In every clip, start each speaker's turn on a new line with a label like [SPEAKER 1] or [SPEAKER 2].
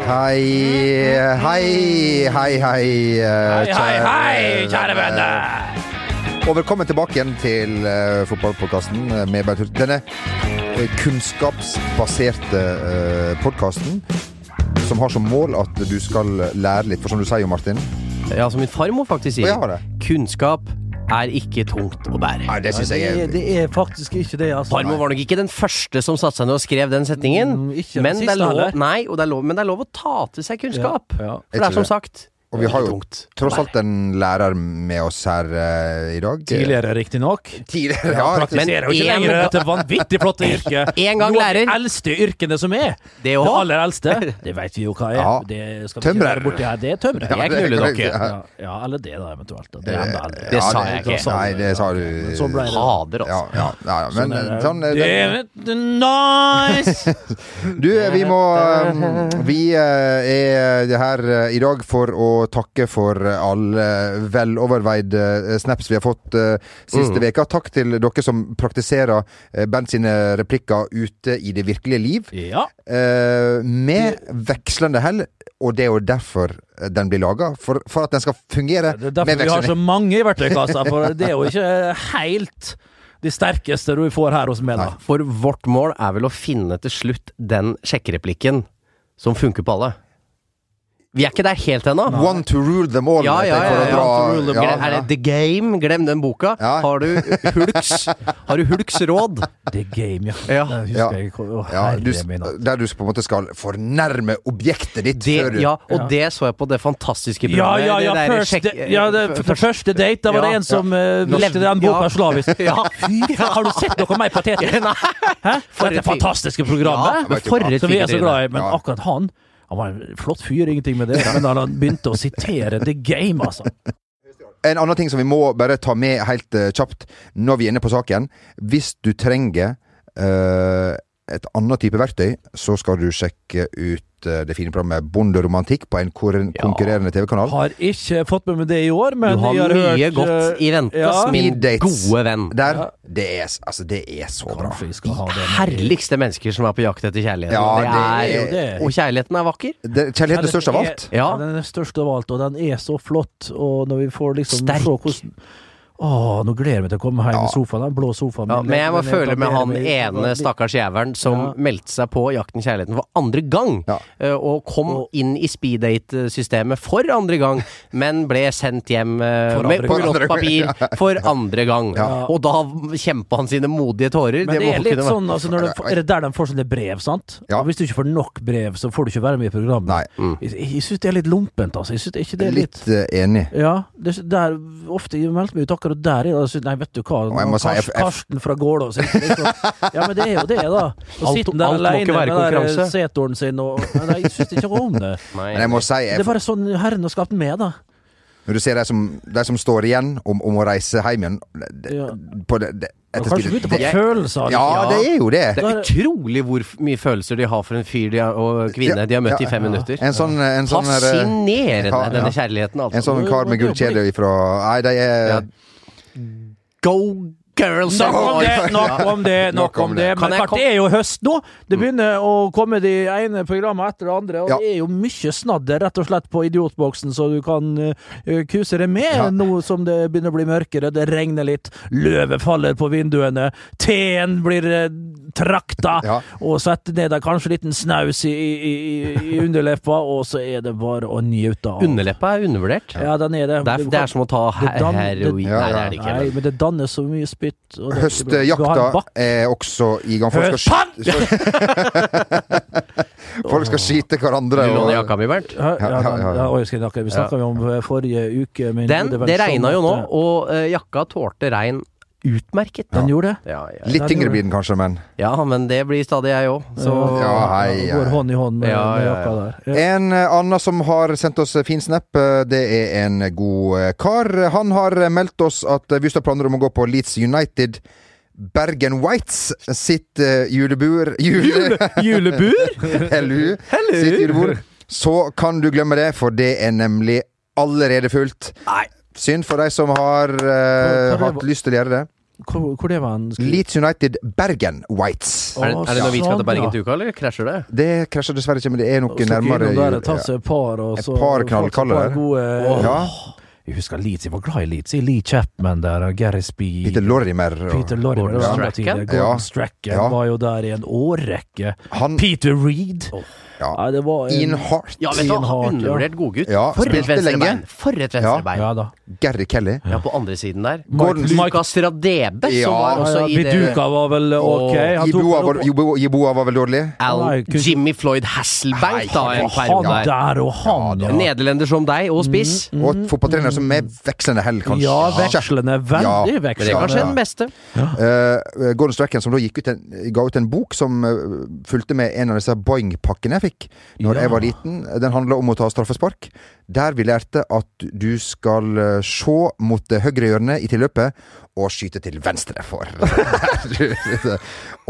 [SPEAKER 1] Hei, hei, hei, hei. eh,
[SPEAKER 2] Hei, hei, hei, kjære venner!
[SPEAKER 3] Eh,
[SPEAKER 1] Og velkommen tilbake igjen til uh, fotballpodkasten med Bernt Hulten. Denne eh, kunnskapsbaserte uh, podkasten som har som mål at du skal lære litt. For som du sier jo, Martin
[SPEAKER 3] Ja, som min farmor faktisk
[SPEAKER 1] Å,
[SPEAKER 3] sier.
[SPEAKER 1] jeg har det.
[SPEAKER 3] Kunnskap er ikke tungt å bære.
[SPEAKER 1] Nei, det syns
[SPEAKER 4] Det
[SPEAKER 1] jeg
[SPEAKER 4] er,
[SPEAKER 1] er
[SPEAKER 4] det er faktisk ikke det, altså.
[SPEAKER 3] Farmor var nok ikke den første som satte seg ned og skrev den setningen.
[SPEAKER 4] Mm, ikke den
[SPEAKER 3] men, det
[SPEAKER 4] siste
[SPEAKER 3] er lov,
[SPEAKER 4] heller.
[SPEAKER 3] nei, og det er lov, men det er lov å ta til seg kunnskap.
[SPEAKER 4] Ja, ja.
[SPEAKER 3] For det er som sagt
[SPEAKER 1] Og vi har
[SPEAKER 3] ikke
[SPEAKER 1] jo
[SPEAKER 3] tungt å
[SPEAKER 1] tross
[SPEAKER 3] bære.
[SPEAKER 1] alt en lærer med oss her eh, i dag.
[SPEAKER 4] Tidligere, riktignok.
[SPEAKER 1] Tidligere, ja. riktig.
[SPEAKER 3] Men
[SPEAKER 4] Praktiserer jo ikke
[SPEAKER 3] en
[SPEAKER 4] lenger
[SPEAKER 3] gang-
[SPEAKER 4] dette vanvittig flotte yrket.
[SPEAKER 3] En gang
[SPEAKER 4] Noe av
[SPEAKER 3] lærer.
[SPEAKER 4] de eldste yrkene som er.
[SPEAKER 3] Det å
[SPEAKER 4] Det
[SPEAKER 3] ha.
[SPEAKER 4] aller eldste. Det vet vi jo hva er.
[SPEAKER 1] Ja.
[SPEAKER 4] Det skal vi ikke
[SPEAKER 1] Tømrer.
[SPEAKER 4] være borti her. Det er tømrer.
[SPEAKER 3] Jeg
[SPEAKER 1] det er
[SPEAKER 3] knuller
[SPEAKER 1] korrekt,
[SPEAKER 3] dere.
[SPEAKER 1] ja. Eh,
[SPEAKER 4] Ja, ja, eller det, da, eventuelt. Det, er sånn. enda eldre.
[SPEAKER 3] Det sa jeg
[SPEAKER 1] det-
[SPEAKER 3] ikke.
[SPEAKER 1] Nei, det sa du.
[SPEAKER 4] Men så ble det.
[SPEAKER 3] Fader,
[SPEAKER 1] Ja,
[SPEAKER 3] altså.
[SPEAKER 1] ja, ja, ja. Men eh, sånn er det.
[SPEAKER 4] Damn it, nice!
[SPEAKER 1] Du, vi må eh, Vi eh, er her eh, i dag for å takke for eh, alle veloverveide eh, snaps vi har fått eh,
[SPEAKER 4] Mm.
[SPEAKER 1] siste veka. Takk til dere som praktiserer eh, Bent sine replikker ute i det virkelige liv.
[SPEAKER 4] Ja.
[SPEAKER 1] eh, Med vekslende hell, og det er jo derfor eh, den blir laga. For, for at den skal fungere
[SPEAKER 4] Det er
[SPEAKER 1] med
[SPEAKER 4] derfor vi har
[SPEAKER 1] vekslende
[SPEAKER 4] så mange i verktøykassa, for det er jo ikke helt de sterkeste du får her hos meg, da.
[SPEAKER 3] For vårt mål er vel å finne til slutt den sjekkereplikken som funker på alle. Vi er ikke der helt ennå.
[SPEAKER 1] One to rule them all.
[SPEAKER 3] Ja,
[SPEAKER 1] vet
[SPEAKER 3] ja,
[SPEAKER 1] jeg,
[SPEAKER 3] ja,
[SPEAKER 1] for å
[SPEAKER 3] ja.
[SPEAKER 1] dra-
[SPEAKER 4] One to rule them
[SPEAKER 1] ja,
[SPEAKER 3] Gle- er det The Game? Glem den boka.
[SPEAKER 1] Ja.
[SPEAKER 3] Har du Hulks Har du Hulks råd?
[SPEAKER 4] Det er game, ja.
[SPEAKER 3] Ja.
[SPEAKER 4] Det
[SPEAKER 1] Ja.
[SPEAKER 4] husker jeg ikke. Å,
[SPEAKER 1] ja, du,
[SPEAKER 4] herre min hatt.
[SPEAKER 1] der du på en måte skal fornærme objektet ditt før
[SPEAKER 3] Det,
[SPEAKER 1] du
[SPEAKER 3] ja, og det så jeg på det fantastiske
[SPEAKER 4] Ja,
[SPEAKER 3] programmet.
[SPEAKER 4] ja, ja,
[SPEAKER 3] det der
[SPEAKER 4] first,
[SPEAKER 3] sjekk-
[SPEAKER 4] ja det, for, for første date, da var
[SPEAKER 3] Ja,
[SPEAKER 4] det en som ja. leste den boka
[SPEAKER 3] Ja.
[SPEAKER 4] slavisk.
[SPEAKER 3] Ja.
[SPEAKER 4] Fy faen, har du sett noe mer patetisk?
[SPEAKER 3] Nei,
[SPEAKER 4] Hæ?
[SPEAKER 3] For
[SPEAKER 4] Dette
[SPEAKER 3] et fy-
[SPEAKER 4] fantastiske programmet,
[SPEAKER 3] Ja, men for et
[SPEAKER 4] som vi er så
[SPEAKER 3] fiketryne.
[SPEAKER 4] glad i, men
[SPEAKER 1] Ja.
[SPEAKER 4] akkurat han han var en flott fyr, ingenting med det, men da han begynte å sitere The Game, altså.
[SPEAKER 1] En annen ting som vi må bare ta med helt eh, kjapt når vi er inne på saken. Hvis du trenger eh, et annet type verktøy, så skal du sjekke ut eh, det fine programmet Bonderomantikk på en korren-
[SPEAKER 3] Ja.
[SPEAKER 1] konkurrerende TV-kanal.
[SPEAKER 4] Har ikke fått med meg det i år, men
[SPEAKER 3] Du har
[SPEAKER 4] jeg
[SPEAKER 3] mye
[SPEAKER 4] hørt, eh,
[SPEAKER 3] godt i vente,
[SPEAKER 4] ja.
[SPEAKER 3] ass, min
[SPEAKER 1] Speed dates.
[SPEAKER 3] gode venn.
[SPEAKER 1] Der. Det er, s- altså, det er så bra.
[SPEAKER 4] Kanskje vi skal ha det.
[SPEAKER 3] Herligste mennesker som er på jakt etter kjærlighet.
[SPEAKER 1] Ja,
[SPEAKER 3] det er,
[SPEAKER 1] det
[SPEAKER 4] er-
[SPEAKER 3] Og kjærligheten er vakker.
[SPEAKER 1] Det, kjærligheten er størst av alt.
[SPEAKER 3] Ja.
[SPEAKER 4] Ja. Den er størst av alt, og den er så flott. Og når vi får liksom
[SPEAKER 3] Sterk.
[SPEAKER 4] se hvordan Åh, nå gleder jeg meg til å komme hjem
[SPEAKER 1] Ja.
[SPEAKER 4] i sofaen. Den blå sofaen.
[SPEAKER 3] Ja,
[SPEAKER 4] med
[SPEAKER 3] men jeg må
[SPEAKER 4] levende
[SPEAKER 3] føle med han
[SPEAKER 4] etablering.
[SPEAKER 3] ene stakkars jævelen som
[SPEAKER 4] Ja.
[SPEAKER 3] meldte seg på Jakten kjærligheten for andre gang,
[SPEAKER 1] Ja.
[SPEAKER 3] eh, og kom
[SPEAKER 4] Og-
[SPEAKER 3] inn i speeddate-systemet for andre gang, men ble sendt hjem eh,
[SPEAKER 4] For
[SPEAKER 3] med
[SPEAKER 4] andre
[SPEAKER 1] gang.
[SPEAKER 3] blått papir for andre gang.
[SPEAKER 1] Ja.
[SPEAKER 3] Og da kjempa han sine modige tårer.
[SPEAKER 4] Men det,
[SPEAKER 3] må
[SPEAKER 4] er litt
[SPEAKER 3] kunne være-
[SPEAKER 4] sånn, altså, når de, er det der de får sånne brev, sant?
[SPEAKER 1] Ja.
[SPEAKER 4] Og hvis du ikke får nok brev, så får du ikke være med i programmet.
[SPEAKER 1] Nei.
[SPEAKER 3] Mm.
[SPEAKER 4] Jeg, jeg syns det er litt lumpent, altså. Jeg synes det, ikke det er litt,
[SPEAKER 1] Litt eh, enig.
[SPEAKER 4] Ja. Det, der, ofte jeg meldte meg ut akkurat der. Jeg, altså, nei, vet du hva.
[SPEAKER 1] jeg må si,
[SPEAKER 4] Kars-
[SPEAKER 1] jeg- jeg-
[SPEAKER 4] Karsten fra Gålås. jeg- liksom. Ja, men det er jo det, da. Å
[SPEAKER 3] Alt-
[SPEAKER 4] sitte der
[SPEAKER 3] alt må ikke
[SPEAKER 4] alene
[SPEAKER 3] være
[SPEAKER 4] med den der eh,
[SPEAKER 3] konkurranse.
[SPEAKER 4] setoren sin og Nei, jeg syns ikke noe om det.
[SPEAKER 3] Nei.
[SPEAKER 1] Men jeg må si,
[SPEAKER 4] Det
[SPEAKER 1] jeg,
[SPEAKER 4] er bare sånn Herren har skapt meg, da.
[SPEAKER 1] når du ser de som, de som står igjen om, om å reise hjem igjen det-
[SPEAKER 4] Ja.
[SPEAKER 1] på det, det,
[SPEAKER 4] Og
[SPEAKER 1] etter
[SPEAKER 4] Kanskje
[SPEAKER 1] spillet-
[SPEAKER 4] begynte å få
[SPEAKER 1] det-
[SPEAKER 4] følelser. liksom.
[SPEAKER 1] Ja, det er jo det.
[SPEAKER 3] Det er utrolig hvor f- mye følelser de har for en fyr de har, og kvinne de har møtt
[SPEAKER 1] Ja,
[SPEAKER 3] i fem
[SPEAKER 1] ja.
[SPEAKER 3] minutter.
[SPEAKER 1] En sånn, en sånn her, eh,
[SPEAKER 3] Fascinerende,
[SPEAKER 1] Ja, ja.
[SPEAKER 3] denne kjærligheten,
[SPEAKER 1] En
[SPEAKER 3] altså.
[SPEAKER 1] sånn kar med gullkjede ifra Nei, de er
[SPEAKER 3] Ja. Go girls!
[SPEAKER 4] Nok om
[SPEAKER 3] Ja.
[SPEAKER 4] det, nok om det. Nok om det.
[SPEAKER 3] Kan
[SPEAKER 4] Men
[SPEAKER 3] jeg
[SPEAKER 4] klart,
[SPEAKER 3] kom-
[SPEAKER 4] det er jo høst nå. Det begynner å komme de ene programmet etter det andre, og
[SPEAKER 1] Ja.
[SPEAKER 4] det er jo mye snadder rett og slett på idiotboksen, så du kan eh, kuse deg med nå som det begynner å bli mørkere, det regner litt, løvet faller på vinduene, teen blir eh, trakta,
[SPEAKER 1] Ja.
[SPEAKER 4] og setter ned en kanskje liten snaus i, i, i, i underleppa, og så er det bare å nyte av.
[SPEAKER 3] Underleppa er undervurdert.
[SPEAKER 4] Ja, den er det.
[SPEAKER 3] Det er,
[SPEAKER 4] Du
[SPEAKER 3] det
[SPEAKER 4] kan-
[SPEAKER 3] er som å ta
[SPEAKER 4] Det
[SPEAKER 3] her
[SPEAKER 4] dan-
[SPEAKER 3] heroin.
[SPEAKER 4] det-
[SPEAKER 1] Ja,
[SPEAKER 3] Nei, det
[SPEAKER 1] ja.
[SPEAKER 3] er det ikke.
[SPEAKER 4] Nei, men det danner så mye spytt. og det- Ah. Du har en
[SPEAKER 1] Høstjakta
[SPEAKER 4] bak-
[SPEAKER 1] er også i gang. Folk skal,
[SPEAKER 4] Høstpann!
[SPEAKER 1] sky- folk skal skyte hverandre.
[SPEAKER 3] Du låner
[SPEAKER 1] Og,
[SPEAKER 3] jakka mi, Bernt.
[SPEAKER 4] Ja, ja,
[SPEAKER 1] Ja, ja, ja.
[SPEAKER 4] ja, ja. oi, skal jeg snakke- Vi snakka jo om eh, forrige uke men
[SPEAKER 3] Den,
[SPEAKER 4] det var
[SPEAKER 3] det
[SPEAKER 4] sånn
[SPEAKER 3] regna jo nå,
[SPEAKER 4] at, eh,
[SPEAKER 3] og eh, jakka tålte regn utmerket.
[SPEAKER 4] Den gjorde det.
[SPEAKER 3] Ja, ja.
[SPEAKER 1] litt tyngre blir den kanskje, men
[SPEAKER 3] ja, men det blir stadig jeg òg, så
[SPEAKER 1] Ja, hei,
[SPEAKER 4] eh, det
[SPEAKER 1] hei.
[SPEAKER 4] Går hånd i hånd med,
[SPEAKER 3] Ja, ja,
[SPEAKER 4] med jakka
[SPEAKER 3] ja.
[SPEAKER 4] der. Ja.
[SPEAKER 1] En eh, annen som har sendt oss eh, fin snap, eh, det er en god eh, kar. Han har eh, meldt oss at eh, Vystad planer om å gå på Leeds United Bergen Whites sitt eh, julebur jule,
[SPEAKER 4] Julebur?
[SPEAKER 1] Hellu. Sitt julebord. Så kan du glemme det, for det er nemlig allerede fullt.
[SPEAKER 3] Nei.
[SPEAKER 1] Synd for de som har eh,
[SPEAKER 4] For- for det
[SPEAKER 1] hatt lyst til å gjøre det.
[SPEAKER 4] Hvor, hvor det var han skrev?
[SPEAKER 1] Leeds United Bergen Whites.
[SPEAKER 3] Er det, er det når vi skal til Bergen til uka, eller krasjer det?
[SPEAKER 1] Det krasjer dessverre ikke, men det er noe nærmere
[SPEAKER 4] Nærmere
[SPEAKER 1] jul.
[SPEAKER 4] jul. Tatt
[SPEAKER 1] Ja.
[SPEAKER 4] seg et par, og
[SPEAKER 1] Et
[SPEAKER 4] så
[SPEAKER 1] par
[SPEAKER 4] fått seg
[SPEAKER 1] knallkaller
[SPEAKER 4] et par
[SPEAKER 1] der.
[SPEAKER 4] gode-
[SPEAKER 1] Ja.
[SPEAKER 4] Jeg husker Leeds, jeg var glad i Leeds. I Lee Chapman der, og Gary Spee
[SPEAKER 1] Peter Lorrimer. og-
[SPEAKER 4] Peter Lorre,
[SPEAKER 3] Gordon
[SPEAKER 4] det var andre
[SPEAKER 3] Strachan?
[SPEAKER 4] tider.
[SPEAKER 1] Ja.
[SPEAKER 4] Gordon Strachan
[SPEAKER 1] Ja.
[SPEAKER 4] var jo der i en årrekke.
[SPEAKER 1] Han
[SPEAKER 4] Peter Reed.
[SPEAKER 1] Ja.
[SPEAKER 4] Ja, det var en
[SPEAKER 1] Ian Hart.
[SPEAKER 3] Ja, vet du
[SPEAKER 4] Ian
[SPEAKER 3] hva,
[SPEAKER 4] Hart, ja.
[SPEAKER 3] undervurdert godgutt.
[SPEAKER 1] Ja,
[SPEAKER 3] For et
[SPEAKER 1] spilte lenge.
[SPEAKER 3] venstrebein! For et venstrebein!
[SPEAKER 4] Ja da.
[SPEAKER 1] Gary Kelly.
[SPEAKER 3] Ja, på andre siden der.
[SPEAKER 4] Gordon-
[SPEAKER 3] Lucas Radebe,
[SPEAKER 1] Ja.
[SPEAKER 3] som var
[SPEAKER 4] Ja,
[SPEAKER 3] også
[SPEAKER 4] ja,
[SPEAKER 3] i det
[SPEAKER 4] Biduka var vel ok. Han
[SPEAKER 1] Iboa
[SPEAKER 4] tok vel
[SPEAKER 1] var,
[SPEAKER 4] opp-
[SPEAKER 1] Iboa- Iboa var vel dårlig?
[SPEAKER 3] Al
[SPEAKER 4] Nei, kunne-
[SPEAKER 3] Jimmy Floyd Hasselbank, da, en
[SPEAKER 4] Han
[SPEAKER 3] periode der.
[SPEAKER 4] der og han, ja.
[SPEAKER 3] Nederlender som deg, og spiss.
[SPEAKER 1] Og en fotballtrener som er vekslende hell, kanskje.
[SPEAKER 4] Mhm. Ja, vekslende. Veldig
[SPEAKER 1] Ja,
[SPEAKER 3] Men det er
[SPEAKER 4] vekslende.
[SPEAKER 3] kanskje den beste.
[SPEAKER 1] Eh, Gordon Strachan som da gikk ut en, ga ut en bok som eh, fulgte med en av disse Boeing-pakkene jeg fikk Når
[SPEAKER 4] Ja.
[SPEAKER 1] jeg var liten. Den handla om å ta straffespark. Der vi lærte at du skal eh, se mot det høyre hjørnet i tilløpet og skyte til venstre for.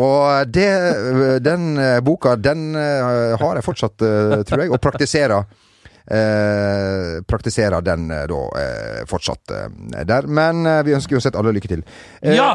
[SPEAKER 1] og det, den eh, boka, den eh, har jeg fortsatt, eh, tror jeg, og praktiserer. Eh, praktiserer den eh, da eh, fortsatt eh, der. Men eh, vi ønsker uansett alle lykke til. Eh,
[SPEAKER 4] Ja!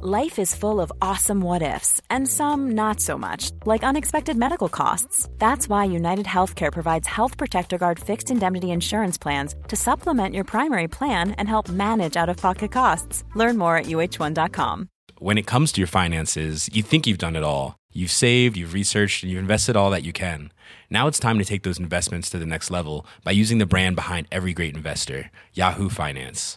[SPEAKER 5] Life is full of awesome what ifs, and some not so much, like unexpected medical costs. That's why United Healthcare provides Health Protector Guard fixed indemnity insurance plans to supplement your primary plan and help manage out of pocket costs. Learn more at uh1.com.
[SPEAKER 6] When it comes to your finances, you think you've done it all. You've saved, you've researched, and you've invested all that you can. Now it's time to take those investments to the next level by using the brand behind every great investor, Yahoo Finance.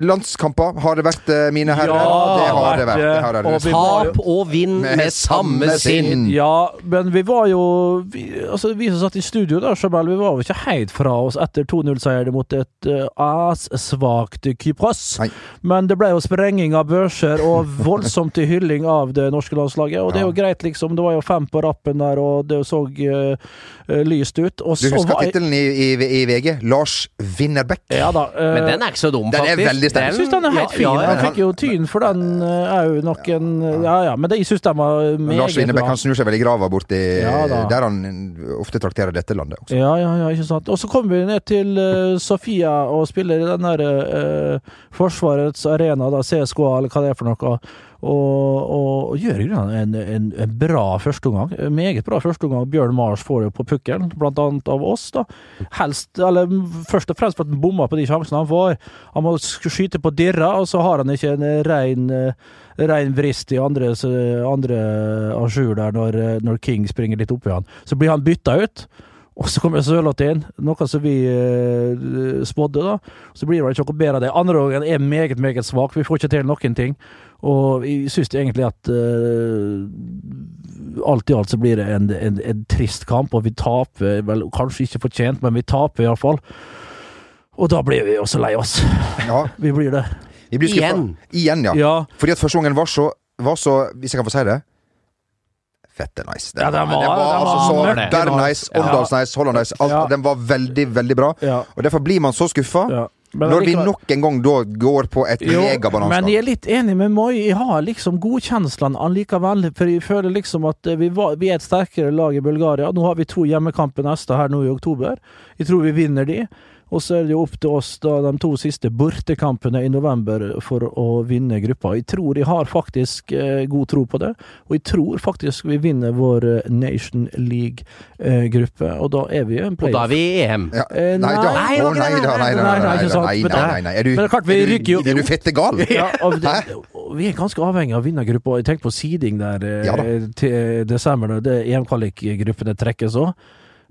[SPEAKER 1] Landskamper har det vært, eh, mine herrer.
[SPEAKER 4] Ja, eh,
[SPEAKER 1] det har det vært. Det har det
[SPEAKER 4] og
[SPEAKER 1] vært.
[SPEAKER 4] vi var jo-
[SPEAKER 3] Tap og vinn med samme sinn!
[SPEAKER 4] Ja, men vi var jo vi, Altså, vi som satt i studio da, Jamal, vi var jo ikke helt fra oss etter 2-0-seieren mot et uh, assvakt Kypros.
[SPEAKER 1] Nei.
[SPEAKER 4] Men det ble jo sprenging av børser og voldsomt til hylling av det norske landslaget. Og det er jo greit, liksom. Det var jo fem på rappen der, og det så eh, eh, lyst ut. Og
[SPEAKER 1] Du
[SPEAKER 4] så
[SPEAKER 1] husker
[SPEAKER 4] var jeg-
[SPEAKER 1] tittelen i, i, i VG? Lars Winnerbäck.
[SPEAKER 4] Ja da. eh,
[SPEAKER 3] Men den er ikke så dum,
[SPEAKER 1] Den er
[SPEAKER 3] faktisk.
[SPEAKER 1] veldig sterk.
[SPEAKER 4] Jeg syns den er helt fin.
[SPEAKER 3] Ja, ja,
[SPEAKER 4] Han fikk jo tyn for den, eh, er jo nok en Ja ja, men det, jeg syns den var
[SPEAKER 1] Lars
[SPEAKER 4] meget
[SPEAKER 1] Winnerbäck
[SPEAKER 4] bra.
[SPEAKER 1] han snur seg vel i grava borti eh,
[SPEAKER 4] Ja, da.
[SPEAKER 1] der han ofte trakterer dette landet også.
[SPEAKER 4] Ja, ja, ja, ikke sant. Og så kommer vi ned til eh, Sofia og spiller i den der eh, Forsvarets arena, da, CSKA eller hva det er for noe. Og, og, og gjør i grunnen en, en, en bra førsteomgang. En Meget bra førsteomgang. Bjørn Mars får det på pukkelen, blant annet av oss, da. Helst, eller mm, først og fremst for at han bomma på de sjansene han får. Han må sk- skyte på dirra, og så har han ikke en eh, rein eh, rein vrist i andre, andre à jour der når, eh, når King springer litt oppi han. Så blir han bytta ut. Og så kommer Sørloth inn, noe som vi eh, spådde. da. Så blir det vel ikke noe bedre av det. Andre gangen er meget meget svak. Vi får ikke til noen ting. Og jeg syns egentlig at eh, alt i alt så blir det en, en, en trist kamp, og vi taper vel kanskje ikke fortjent, men vi taper iallfall. Og da blir vi også lei oss.
[SPEAKER 1] Ja,
[SPEAKER 4] Vi blir det.
[SPEAKER 1] vi blir skuffa.
[SPEAKER 3] Igjen.
[SPEAKER 1] Igjen, ja.
[SPEAKER 4] Ja.
[SPEAKER 1] Fordi at første gangen var så, var så Hvis jeg kan få si det Fette nice.
[SPEAKER 4] Ja, den var-
[SPEAKER 1] den
[SPEAKER 4] den
[SPEAKER 1] altså
[SPEAKER 4] var
[SPEAKER 1] så
[SPEAKER 4] mørkt.
[SPEAKER 1] der nice, Åndals nice, Holland nice. Alt,
[SPEAKER 4] Ja.
[SPEAKER 1] Den var veldig, veldig bra.
[SPEAKER 4] Ja.
[SPEAKER 1] Og derfor blir man så skuffa
[SPEAKER 4] Ja. Men
[SPEAKER 1] når vi
[SPEAKER 4] allikevel-
[SPEAKER 1] nok en gang da går på et
[SPEAKER 4] Jo, men jeg
[SPEAKER 1] megabananskall.
[SPEAKER 4] er litt enig med Moi. Jeg har liksom godkjenslene allikevel. For jeg føler liksom at eh, vi, var, vi er et sterkere lag i Bulgaria. Nå har vi to hjemmekamper neste her nå i oktober. Jeg tror vi vinner de. Og så er det jo opp til oss da de to siste bortekampene i november for å vinne gruppa. Jeg tror jeg har faktisk eh, god tro på det, og jeg tror faktisk vi vinner vår eh, Nation League-gruppe. og da er vi jo en
[SPEAKER 3] Og da
[SPEAKER 4] playoff.
[SPEAKER 3] er vi i EM.
[SPEAKER 1] Ja.
[SPEAKER 4] Eh,
[SPEAKER 1] Nei da,
[SPEAKER 4] nei,
[SPEAKER 1] Å,
[SPEAKER 3] det var
[SPEAKER 1] nei
[SPEAKER 3] ikke det.
[SPEAKER 1] da, nei da,
[SPEAKER 4] Nei, nei,
[SPEAKER 1] nei da,
[SPEAKER 4] ikke sant.
[SPEAKER 1] nei
[SPEAKER 4] Men
[SPEAKER 1] da,
[SPEAKER 4] det-
[SPEAKER 1] nei, nei. Er du,
[SPEAKER 4] Men det er klart, vi
[SPEAKER 1] er du,
[SPEAKER 4] rykker jo-
[SPEAKER 1] er du fette gal?
[SPEAKER 4] Ja, og det,
[SPEAKER 1] Hæ?
[SPEAKER 4] vi er ganske avhengig av vinnergruppa. Jeg tenker på seeding der eh,
[SPEAKER 1] Ja da.
[SPEAKER 4] til desember, når det EM-kvalikgruppene trekkes òg.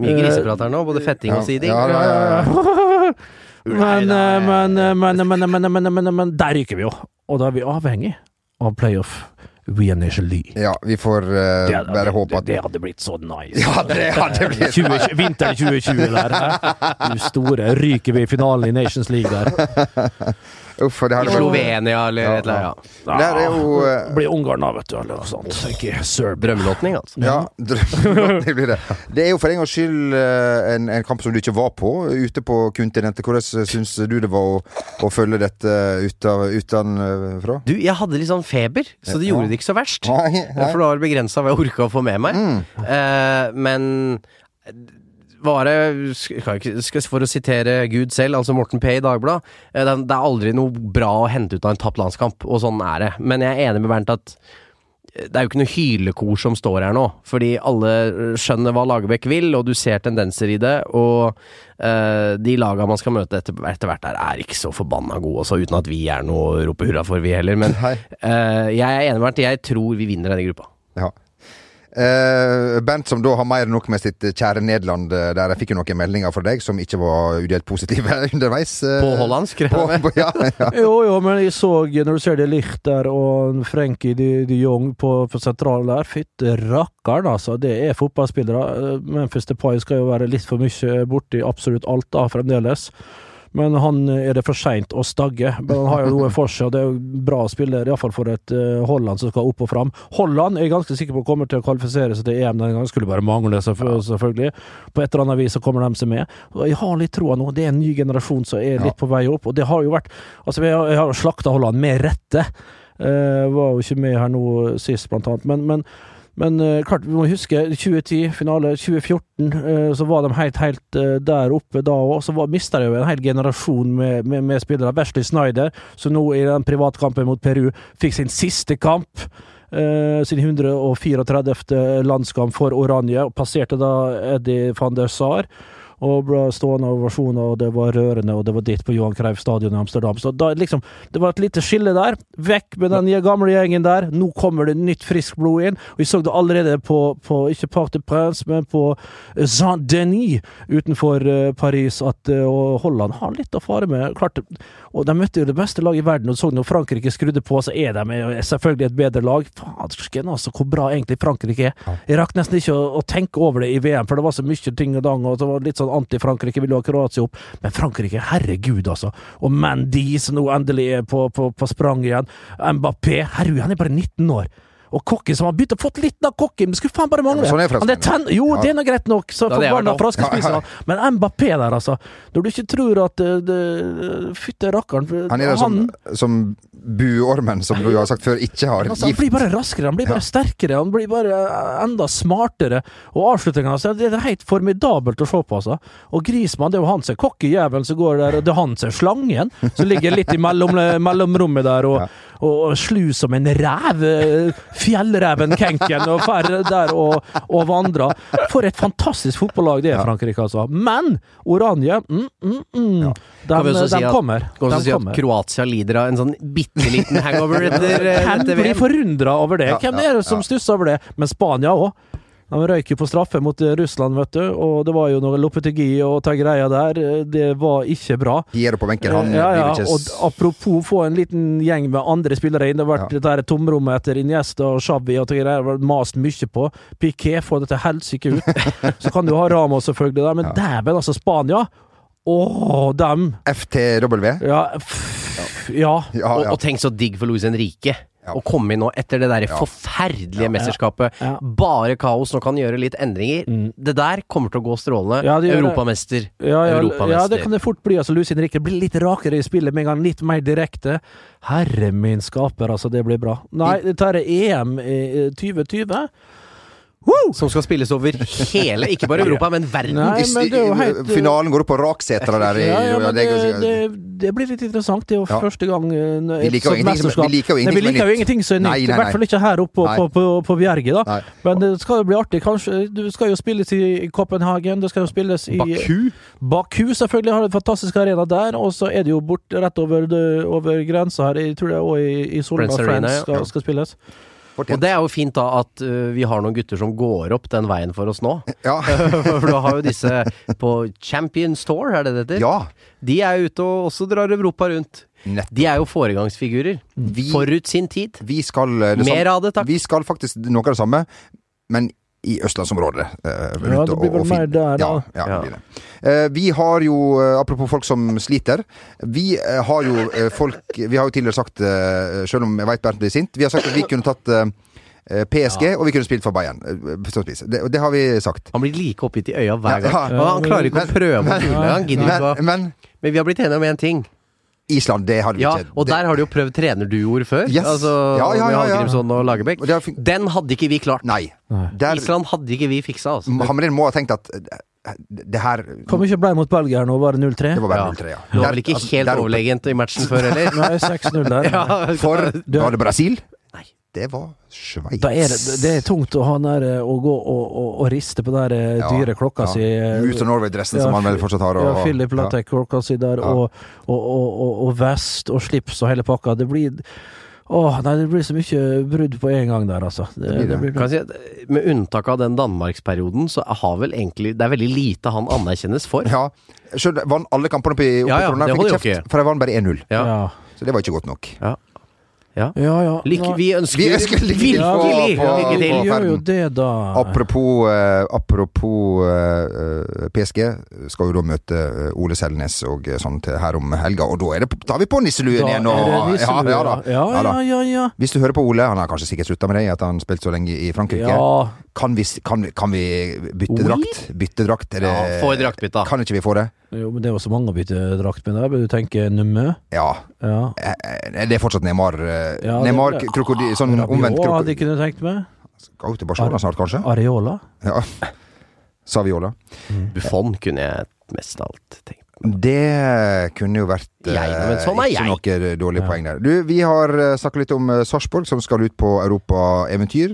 [SPEAKER 3] Mye griseprat her nå, både fetting og siding.
[SPEAKER 1] Ja, ja, ja, ja.
[SPEAKER 4] Men, eh, men, eh, men, eh, men, eh, men, eh, men, eh, men, eh, men der ryker vi jo! Og da er vi avhengig av playoff. We are Nation League.
[SPEAKER 1] ja, vi får eh,
[SPEAKER 4] Det, hadde-
[SPEAKER 1] bare håpe
[SPEAKER 4] det,
[SPEAKER 1] at
[SPEAKER 4] det hadde blitt så nice.
[SPEAKER 1] Ja, det hadde blitt
[SPEAKER 4] 20, vinter 2020 der. hæ? Du store. Ryker vi i finalen i Nations League der?
[SPEAKER 1] Uff, det
[SPEAKER 3] I
[SPEAKER 1] hadde vært
[SPEAKER 3] Slovenia eller et eller annet. Ja.
[SPEAKER 1] Det her er jo eh,
[SPEAKER 4] Ah, Blir Ungarn da, vet du. Eller noe sånt. Ikke Serbia.
[SPEAKER 3] Drømmelåtning, altså.
[SPEAKER 1] Ja, drømmen, det blir det. Det er jo for en gangs skyld eh, en, en kamp som du ikke var på, ute på kontinentet. Hvordan eh, syns du det var å, å følge dette ut av- utenfra?
[SPEAKER 3] Du, jeg hadde litt sånn feber, så det gjorde det ikke så verst.
[SPEAKER 1] Nei, nei.
[SPEAKER 3] For det var begrensa hva jeg orka å få med meg. Eh, men var det skal jeg ikke- skal- For å sitere Gud selv, altså Morten P. i Dagbladet eh, det, er- det er aldri noe bra å hente ut av en tapt landskamp, og sånn er det. Men jeg er enig med Bernt at eh, det er jo ikke noe hylekor som står her nå, fordi alle skjønner hva Lagerbäck vil, og du ser tendenser i det, og eh, de laga man skal møte etter, etter hvert der, er ikke så forbanna gode, også, uten at vi er noe å rope hurra for, vi heller. Men
[SPEAKER 1] Nei.
[SPEAKER 3] eh, jeg er enig med at jeg tror vi vinner denne gruppa.
[SPEAKER 1] Ja. Eh, Bent, som da har mer enn nok med sitt kjære Nederland, eh, der jeg fikk jo noen meldinger fra deg som ikke var udelt positive underveis. eh,
[SPEAKER 3] På hollandsk, skrev
[SPEAKER 1] På,
[SPEAKER 3] jeg.
[SPEAKER 1] på, ja, ja.
[SPEAKER 4] Jo, jo, men jeg så når du ser det Licht der og en Frenkie de, de Jong på, på sentralen der Fytte rakkeren, altså. Det er fotballspillere. Eh, Memphis Depay skal jo være litt for mye borti absolutt alt da, fremdeles. Men han eh, er det for seint å stagge. Men han har jo noe for seg, og det er jo bra spiller, iallfall for et eh, Holland som skal opp og fram. Holland er jeg ganske sikker på kommer til å kvalifisere seg til EM denne gangen, skulle bare mangle, selvfø- selvfølgelig. På et eller annet vis så kommer de seg med. Og jeg har litt troa nå, det er en ny generasjon som er litt på vei opp, og det har jo vært Altså, vi har- jeg har slakta Holland med rette. Eh, var jo ikke med her nå sist, blant annet. Men, men, men eh, klart, vi må huske 2010, finale. 2014, eh, så var de helt, helt eh, der oppe da òg. Så mista de jo en hel generasjon med, med, med spillere. Wesley Snyder, som nå i den privatkampen mot Peru fikk sin siste kamp. eh, sin 134. landskamp for Oranje, og passerte da Eddie van der Sar og ble stående ovasjoner, og det var rørende, og det var ditt på Johan Cruyff stadion i Amsterdam. Så da, liksom, det var et lite skille der. Vekk med den gamle gjengen der. Nå kommer det nytt, friskt blod inn. Og vi så det allerede på, på ikke Parc de Prince, men på eh, Saint-Denis utenfor eh, Paris, at eh, og Holland har litt å fare med. Klart, og de møtte jo det beste laget i verden, og så når Frankrike skrudde på, så er de eh, selvfølgelig et bedre lag. Fadersken, altså, hvor bra egentlig Frankrike er. Jeg rakk nesten ikke å, å tenke over det i VM, for det var så mye ting og dang, og det var litt sånn anti-Frankrike, ville ha Kroatia opp. Men Frankrike, herregud, altså. Og Mandy, som nå endelig er på, på, på sprang igjen. Mbappé, herregud, han er bare 19 år. Og Kokken, som har begynt å fått litt av Kokken, men skulle faen bare mangle.
[SPEAKER 1] Ja, men sånn er
[SPEAKER 4] han er
[SPEAKER 1] franskmennene.
[SPEAKER 4] ten, jo,
[SPEAKER 1] Ja.
[SPEAKER 4] det er nå greit nok, så
[SPEAKER 3] Da hadde jeg vært
[SPEAKER 4] forbanna
[SPEAKER 3] opp.
[SPEAKER 4] fraskespiser. Men Mbappé der, altså. Når du ikke tror at eh, det- Fytte rakkeren
[SPEAKER 1] Han er der som, som buormen, som du har sagt før, ikke har
[SPEAKER 4] Altså, han
[SPEAKER 1] gift.
[SPEAKER 4] blir bare raskere, han blir bare sterkere, han blir bare eh, enda smartere. Og avslutninga hans Det er helt formidabelt å se på, altså. Og Grismann, det er jo han som er kokkejævelen som går der, og det er han som er slangen, som ligger litt i mellom, eh, mellomrommet der og, og, og slu som en ræv. eh, Fjellreven Kenken og fer der og, og vandrer. For et fantastisk fotballag det er, Frankrike, altså. Men Oranje, mm, mm, mm.
[SPEAKER 3] Kan vi
[SPEAKER 4] De,
[SPEAKER 3] også si at-
[SPEAKER 4] de kommer.
[SPEAKER 3] Kan også
[SPEAKER 4] De
[SPEAKER 3] si at
[SPEAKER 4] kommer.
[SPEAKER 3] Kroatia lider av en sånn bitte liten hangover etter, eh,
[SPEAKER 4] Hvem
[SPEAKER 3] etter
[SPEAKER 4] blir
[SPEAKER 3] VM.
[SPEAKER 4] forundra over det?
[SPEAKER 1] Ja,
[SPEAKER 4] Hvem
[SPEAKER 1] ja,
[SPEAKER 4] er det som
[SPEAKER 1] ja.
[SPEAKER 4] stusser over det? Men Spania òg. De røyk jo på straffe mot eh, Russland, vet du. Og det var jo noe Lopetegui og ta greia der. eh, Det var ikke bra.
[SPEAKER 1] Gir på benken, han
[SPEAKER 4] Eh, ja, ja.
[SPEAKER 1] blir ikke
[SPEAKER 4] Og apropos få en liten gjeng med andre spillere inn. Det har vært
[SPEAKER 1] Ja.
[SPEAKER 4] det der tomrommet etter Iniesta og Shabby og det har vært mast mye på. Piquet får det til helsike ut. Så kan du ha Ramos selvfølgelig der, men dæven, altså. Spania! Åh, dem!
[SPEAKER 1] FTW.
[SPEAKER 4] Ja, f ja.
[SPEAKER 1] Ja,
[SPEAKER 3] Og,
[SPEAKER 1] ja.
[SPEAKER 3] og tenk så digg for Luis Henrique. å komme inn nå etter det der forferdelige mesterskapet.
[SPEAKER 4] Ja. Mm.
[SPEAKER 3] Bare kaos. Nå kan han gjøre litt endringer. Det der kommer til å gå strålende.
[SPEAKER 4] Ja, det gjør det.
[SPEAKER 3] Europamester.
[SPEAKER 4] Ja, ja, ja, det
[SPEAKER 3] Europamester.
[SPEAKER 4] kan det fort bli. Altså, Lucy Henrique blir litt rakere i spillet med en gang, litt mer direkte. Herre min skaper, altså, det blir bra. Nei, dette her er EM i eh, 2020. Woo!
[SPEAKER 3] Som skal spilles over hele, ikke bare Europa, men verden.
[SPEAKER 4] Nei, men det er jo helt-
[SPEAKER 1] Finalen går opp på Raksetra der. i-
[SPEAKER 4] Ja, ja, men det,
[SPEAKER 1] det er-
[SPEAKER 4] det, det blir litt interessant. Det er jo
[SPEAKER 1] Ja.
[SPEAKER 4] første gang eh,
[SPEAKER 1] Vi
[SPEAKER 4] et
[SPEAKER 1] liker jo
[SPEAKER 4] sånt
[SPEAKER 1] ingenting som-
[SPEAKER 4] mesterskap.
[SPEAKER 1] vi liker jo
[SPEAKER 4] Nei,
[SPEAKER 1] ingenting
[SPEAKER 4] vi
[SPEAKER 1] som er
[SPEAKER 4] liker jo
[SPEAKER 1] nytt.
[SPEAKER 4] ingenting som er
[SPEAKER 1] Nei,
[SPEAKER 4] nytt.
[SPEAKER 1] nei,
[SPEAKER 4] I hvert
[SPEAKER 1] nei.
[SPEAKER 4] fall ikke her oppe på,
[SPEAKER 1] Nei.
[SPEAKER 4] på, på, på Bjerget, da.
[SPEAKER 1] Nei.
[SPEAKER 4] Men det skal jo bli artig. Kanskje, du skal jo spilles i Copenhagen, det skal jo spilles i
[SPEAKER 3] Baku?
[SPEAKER 4] Baku selvfølgelig har en fantastisk arena der, og så er det jo bort rett over, det- over grensa her. Jeg tror det er også i, i Solna
[SPEAKER 3] Friends
[SPEAKER 4] Friends,
[SPEAKER 3] Arena, ja.
[SPEAKER 4] skal, skal spilles.
[SPEAKER 3] Og det er jo fint da at øh, vi har noen gutter som går opp den veien for oss nå.
[SPEAKER 1] Ja.
[SPEAKER 3] For du har jo disse på Champions Tour, er det det heter?
[SPEAKER 1] ja.
[SPEAKER 3] De er ute og også drar Europa rundt.
[SPEAKER 1] Nettopp.
[SPEAKER 3] De er jo foregangsfigurer.
[SPEAKER 1] Vi-
[SPEAKER 3] Forut sin tid.
[SPEAKER 1] Vi skal eh, det
[SPEAKER 3] Mer
[SPEAKER 1] samme-
[SPEAKER 3] av det, takk.
[SPEAKER 1] Vi skal faktisk noe av det samme, men i østlandsområdet. eh, rundt
[SPEAKER 4] det blir
[SPEAKER 1] og-
[SPEAKER 4] vel
[SPEAKER 1] og fint.
[SPEAKER 4] mer der, da.
[SPEAKER 1] Ja, ja,
[SPEAKER 3] Ja.
[SPEAKER 1] det blir det. Eh, vi har jo, eh, apropos folk som sliter, vi eh, har jo eh, folk Vi har jo tidligere sagt, eh, selv om jeg veit Bernt blir sint, vi har sagt at vi kunne tatt eh, PSG, og vi kunne spilt for Bayern. eh, på sånt vis. Det, og det har vi sagt.
[SPEAKER 3] Han blir like oppgitt i øya hver gang.
[SPEAKER 1] Ja, ja.
[SPEAKER 3] Og han klarer ikke å prøve å kule. Han gidder ikke
[SPEAKER 1] Men,
[SPEAKER 3] å
[SPEAKER 1] men
[SPEAKER 3] Men vi har blitt enige om én ting.
[SPEAKER 1] Island, det hadde vi
[SPEAKER 3] Ja,
[SPEAKER 1] ikke.
[SPEAKER 3] og der har du jo prøvd trenerduoer før.
[SPEAKER 1] Yes.
[SPEAKER 3] Altså
[SPEAKER 1] Ja, ja,
[SPEAKER 3] med
[SPEAKER 1] ja, ja.
[SPEAKER 3] Hallgrimsson og Lagerbäck.
[SPEAKER 1] Og det har fun-
[SPEAKER 3] Den hadde ikke vi klart.
[SPEAKER 1] Nei. Der,
[SPEAKER 3] Island hadde ikke vi fiksa, altså.
[SPEAKER 1] Hamrin må ha tenkt at eh, det her Det
[SPEAKER 4] Hvor mye ble det mot Belgia nå? Var det 0-3?
[SPEAKER 3] Ja.
[SPEAKER 1] var bare 0-3, ja.
[SPEAKER 3] Du
[SPEAKER 1] Der-
[SPEAKER 3] var vel ikke
[SPEAKER 1] altså,
[SPEAKER 3] helt
[SPEAKER 1] der oppe.
[SPEAKER 3] overlegent i matchen før heller?
[SPEAKER 4] Nei, 6-0 der.
[SPEAKER 3] Ja,
[SPEAKER 1] For Var det Brasil?
[SPEAKER 3] Nei.
[SPEAKER 1] Det var Sveits.
[SPEAKER 4] Da er det, det er tungt å, ha den der, eh, å gå og, og, og riste på den der, eh, dyre klokka si. eh,
[SPEAKER 1] Ut av Norway-dressen, som
[SPEAKER 4] Ja,
[SPEAKER 1] han vel fortsatt har.
[SPEAKER 4] ja, Philip Latek, klokka si der, og, og, og, og, og vest og slips og hele pakka. Det blir Åh, nei, det blir så mye brudd på en gang der, altså. Det, det blir
[SPEAKER 3] Kan jeg si, at eh, med unntak av den Danmarksperioden, så har vel egentlig Det er veldig lite han anerkjennes for.
[SPEAKER 1] Ja. Sjøl vant alle kampene oppe i oppe
[SPEAKER 3] Ja,
[SPEAKER 1] i
[SPEAKER 3] ja,
[SPEAKER 1] Trondheim,
[SPEAKER 3] det
[SPEAKER 1] fikk
[SPEAKER 3] holder jo
[SPEAKER 1] kjeft,
[SPEAKER 3] ikke.
[SPEAKER 1] for de vant bare 1-0.
[SPEAKER 3] Ja.
[SPEAKER 4] Ja,
[SPEAKER 1] Så det var ikke godt nok.
[SPEAKER 3] Ja.
[SPEAKER 4] ja. ja
[SPEAKER 3] Lykke,
[SPEAKER 4] Nei,
[SPEAKER 3] vi ønsker,
[SPEAKER 1] Vi ønsker lykke til på-
[SPEAKER 3] virkelig
[SPEAKER 1] på-
[SPEAKER 3] lykke
[SPEAKER 4] vi
[SPEAKER 3] til.
[SPEAKER 1] på-
[SPEAKER 4] gjør jo
[SPEAKER 1] ferden.
[SPEAKER 4] det, da.
[SPEAKER 1] Apropos, eh, apropos eh, eh, PSG, skal jo da møte eh, Ole Selnes og eh, sånt her om helga, og da er det, tar vi på nisseluen
[SPEAKER 4] Da
[SPEAKER 1] igjen. Og,
[SPEAKER 4] er det
[SPEAKER 1] ja,
[SPEAKER 4] nisselue,
[SPEAKER 1] ja, da.
[SPEAKER 4] ja,
[SPEAKER 1] Ja, da.
[SPEAKER 4] ja, ja, ja.
[SPEAKER 1] Hvis du hører på Ole, han har kanskje sikkert slutta med det i at han har spilt så lenge i Frankrike.
[SPEAKER 4] Ja.
[SPEAKER 1] Kan, vi, s- kan, vi- kan vi bytte
[SPEAKER 3] Oui?
[SPEAKER 1] drakt? Bytte drakt? Er det,
[SPEAKER 3] Ja, få et draktbytte, da.
[SPEAKER 1] Kan ikke vi få det?
[SPEAKER 4] Jo, men det er jo så mange å bytte drakt med der, men du tenker Numø?
[SPEAKER 1] Ja.
[SPEAKER 4] Ja.
[SPEAKER 1] Eh, eh, Det er fortsatt Neymar. eh,
[SPEAKER 4] Ja, det-
[SPEAKER 1] Neymar
[SPEAKER 3] Ah,
[SPEAKER 1] krokodil, sånn omvendt
[SPEAKER 4] Rabiot hadde
[SPEAKER 1] krokodil.
[SPEAKER 4] jeg kunne tenkt meg.
[SPEAKER 1] Skal jo til Barcelona snart, kanskje?
[SPEAKER 4] Areola?
[SPEAKER 1] Ja. Saviola.
[SPEAKER 3] Buffon kunne jeg mest av alt tenkt.
[SPEAKER 1] Det kunne jo vært eh,
[SPEAKER 3] Jeg, men sånn er
[SPEAKER 1] ikke
[SPEAKER 3] jeg.
[SPEAKER 1] noe dårlig poeng der. Du, vi har eh, snakket litt om eh, Sarpsborg, som skal ut på europaeventyr.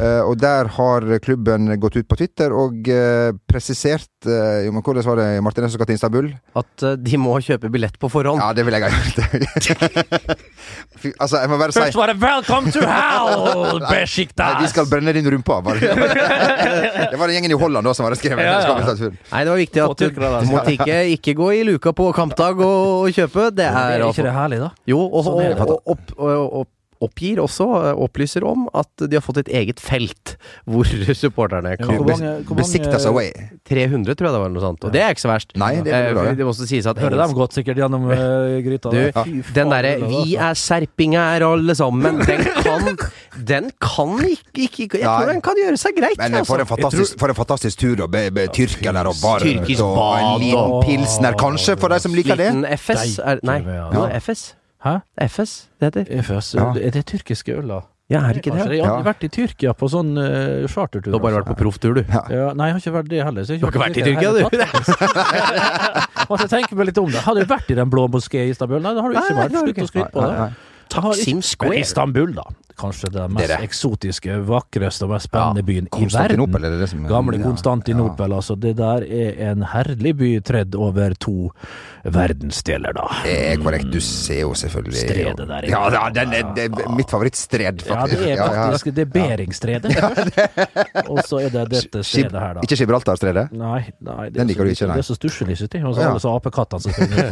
[SPEAKER 1] Eh, og der har klubben gått ut på Twitter og eh, presisert eh, jo, men Hvordan var det Martinez som skal til Istanbul?
[SPEAKER 3] At eh, de må kjøpe billett på forhånd.
[SPEAKER 1] Ja, det vil jeg ha gjort. Fy, altså, jeg må bare si
[SPEAKER 4] Først var det 'Welcome to hell',
[SPEAKER 1] Nei,
[SPEAKER 4] Besiktas!
[SPEAKER 1] vi skal brenne din rumpa. Bare. Det var den gjengen i Holland da som hadde skrevet
[SPEAKER 4] Ja, ja.
[SPEAKER 1] Skal vi ta turen?
[SPEAKER 3] Nei, det var viktig at du
[SPEAKER 1] altså.
[SPEAKER 3] måtte ikke, ikke gå i luka på kampdag og, og kjøpe. Det
[SPEAKER 4] Er
[SPEAKER 3] er
[SPEAKER 4] ikke det herlig, da?
[SPEAKER 3] Jo, og,
[SPEAKER 4] Sånn er
[SPEAKER 3] og,
[SPEAKER 4] det.
[SPEAKER 3] og, opp, og, og oppgir også, eh, opplyser om, at de har fått et eget felt hvor supporterne kan
[SPEAKER 4] Hvor mange- hvor mange-
[SPEAKER 1] Besiktas away.
[SPEAKER 3] 300, tror jeg det var, eller noe sånt. Og det er ikke så verst.
[SPEAKER 1] Nei, det er
[SPEAKER 3] Eh,
[SPEAKER 1] bra,
[SPEAKER 3] fordi
[SPEAKER 1] det.
[SPEAKER 3] det må også sies at
[SPEAKER 4] Hører
[SPEAKER 3] engelsk-
[SPEAKER 4] dem godt sikkert gjennom eh, gryta.
[SPEAKER 3] Du,
[SPEAKER 4] der.
[SPEAKER 3] ja.
[SPEAKER 4] Fy faen, altså.
[SPEAKER 3] den derre
[SPEAKER 4] det
[SPEAKER 3] 'vi er serpinger alle sammen', den kan Den kan ikke, ikke ikke- Jeg tror
[SPEAKER 1] Nei.
[SPEAKER 3] den kan gjøre seg greit. altså.
[SPEAKER 1] Men eh, for en fantastisk, for en fantastisk tur, da. Med, med tyrker der og varmt.
[SPEAKER 3] Tyrkisk
[SPEAKER 1] og
[SPEAKER 3] bad
[SPEAKER 1] en liten
[SPEAKER 3] og-
[SPEAKER 1] pilsner, kanskje, for de som liker det.
[SPEAKER 3] Liten FS er, Nei,
[SPEAKER 4] Deilig, ja.
[SPEAKER 3] jo, det er FS.
[SPEAKER 4] Hæ?
[SPEAKER 3] FS, det heter.
[SPEAKER 4] er først-
[SPEAKER 1] Ja.
[SPEAKER 4] Er det tyrkiske øl, da?
[SPEAKER 3] Ja, er det ikke
[SPEAKER 4] Kanskje
[SPEAKER 3] det?
[SPEAKER 4] Jeg har
[SPEAKER 1] Ja.
[SPEAKER 4] aldri vært i Tyrkia på sånn eh, chartertur.
[SPEAKER 3] Du har bare
[SPEAKER 4] altså.
[SPEAKER 3] vært på profftur, du.
[SPEAKER 4] ja, nei, jeg har ikke vært det heller. Så jeg
[SPEAKER 3] Du har ikke vært i Tyrkia,
[SPEAKER 4] i det hele
[SPEAKER 3] du.
[SPEAKER 4] tatt. Altså, tenk meg litt om det. Hadde du vært i Den blå moské i Istanbul? Nei, det har du ikke
[SPEAKER 3] Nei, nei,
[SPEAKER 4] vært.
[SPEAKER 3] det har du
[SPEAKER 4] Slutt å
[SPEAKER 3] ikke.
[SPEAKER 4] skryte på
[SPEAKER 1] Nei,
[SPEAKER 4] det.
[SPEAKER 1] nei.
[SPEAKER 3] Taksim
[SPEAKER 4] Men
[SPEAKER 3] Square.
[SPEAKER 4] Istanbul, da. Kanskje den mest
[SPEAKER 1] Det er det.
[SPEAKER 4] eksotiske, vakreste og mest spennende byen i verden.
[SPEAKER 1] Konstantinopel, er det det som
[SPEAKER 4] Gamle
[SPEAKER 1] ja.
[SPEAKER 4] Konstantinopel, altså. Det der er en herlig by tredd over to verdensdeler, da.
[SPEAKER 1] Det er korrekt. Du ser jo selvfølgelig
[SPEAKER 4] Stredet der inne.
[SPEAKER 1] Ja, ja den er, det er mitt favorittstred,
[SPEAKER 4] Ja, det
[SPEAKER 1] faktisk.
[SPEAKER 4] er
[SPEAKER 1] Ja, ja.
[SPEAKER 4] faktisk det er Beringstredet. Og så er det dette
[SPEAKER 1] Skib-
[SPEAKER 4] stedet her, da.
[SPEAKER 1] Ikke Gibraltarstredet?
[SPEAKER 4] Nei, nei, det
[SPEAKER 1] Den
[SPEAKER 4] er
[SPEAKER 1] liker
[SPEAKER 4] så-
[SPEAKER 1] du ikke, nei.
[SPEAKER 4] Det er så stusslig, syns jeg. Og så
[SPEAKER 1] Ja.
[SPEAKER 4] alle så apekattene som springer.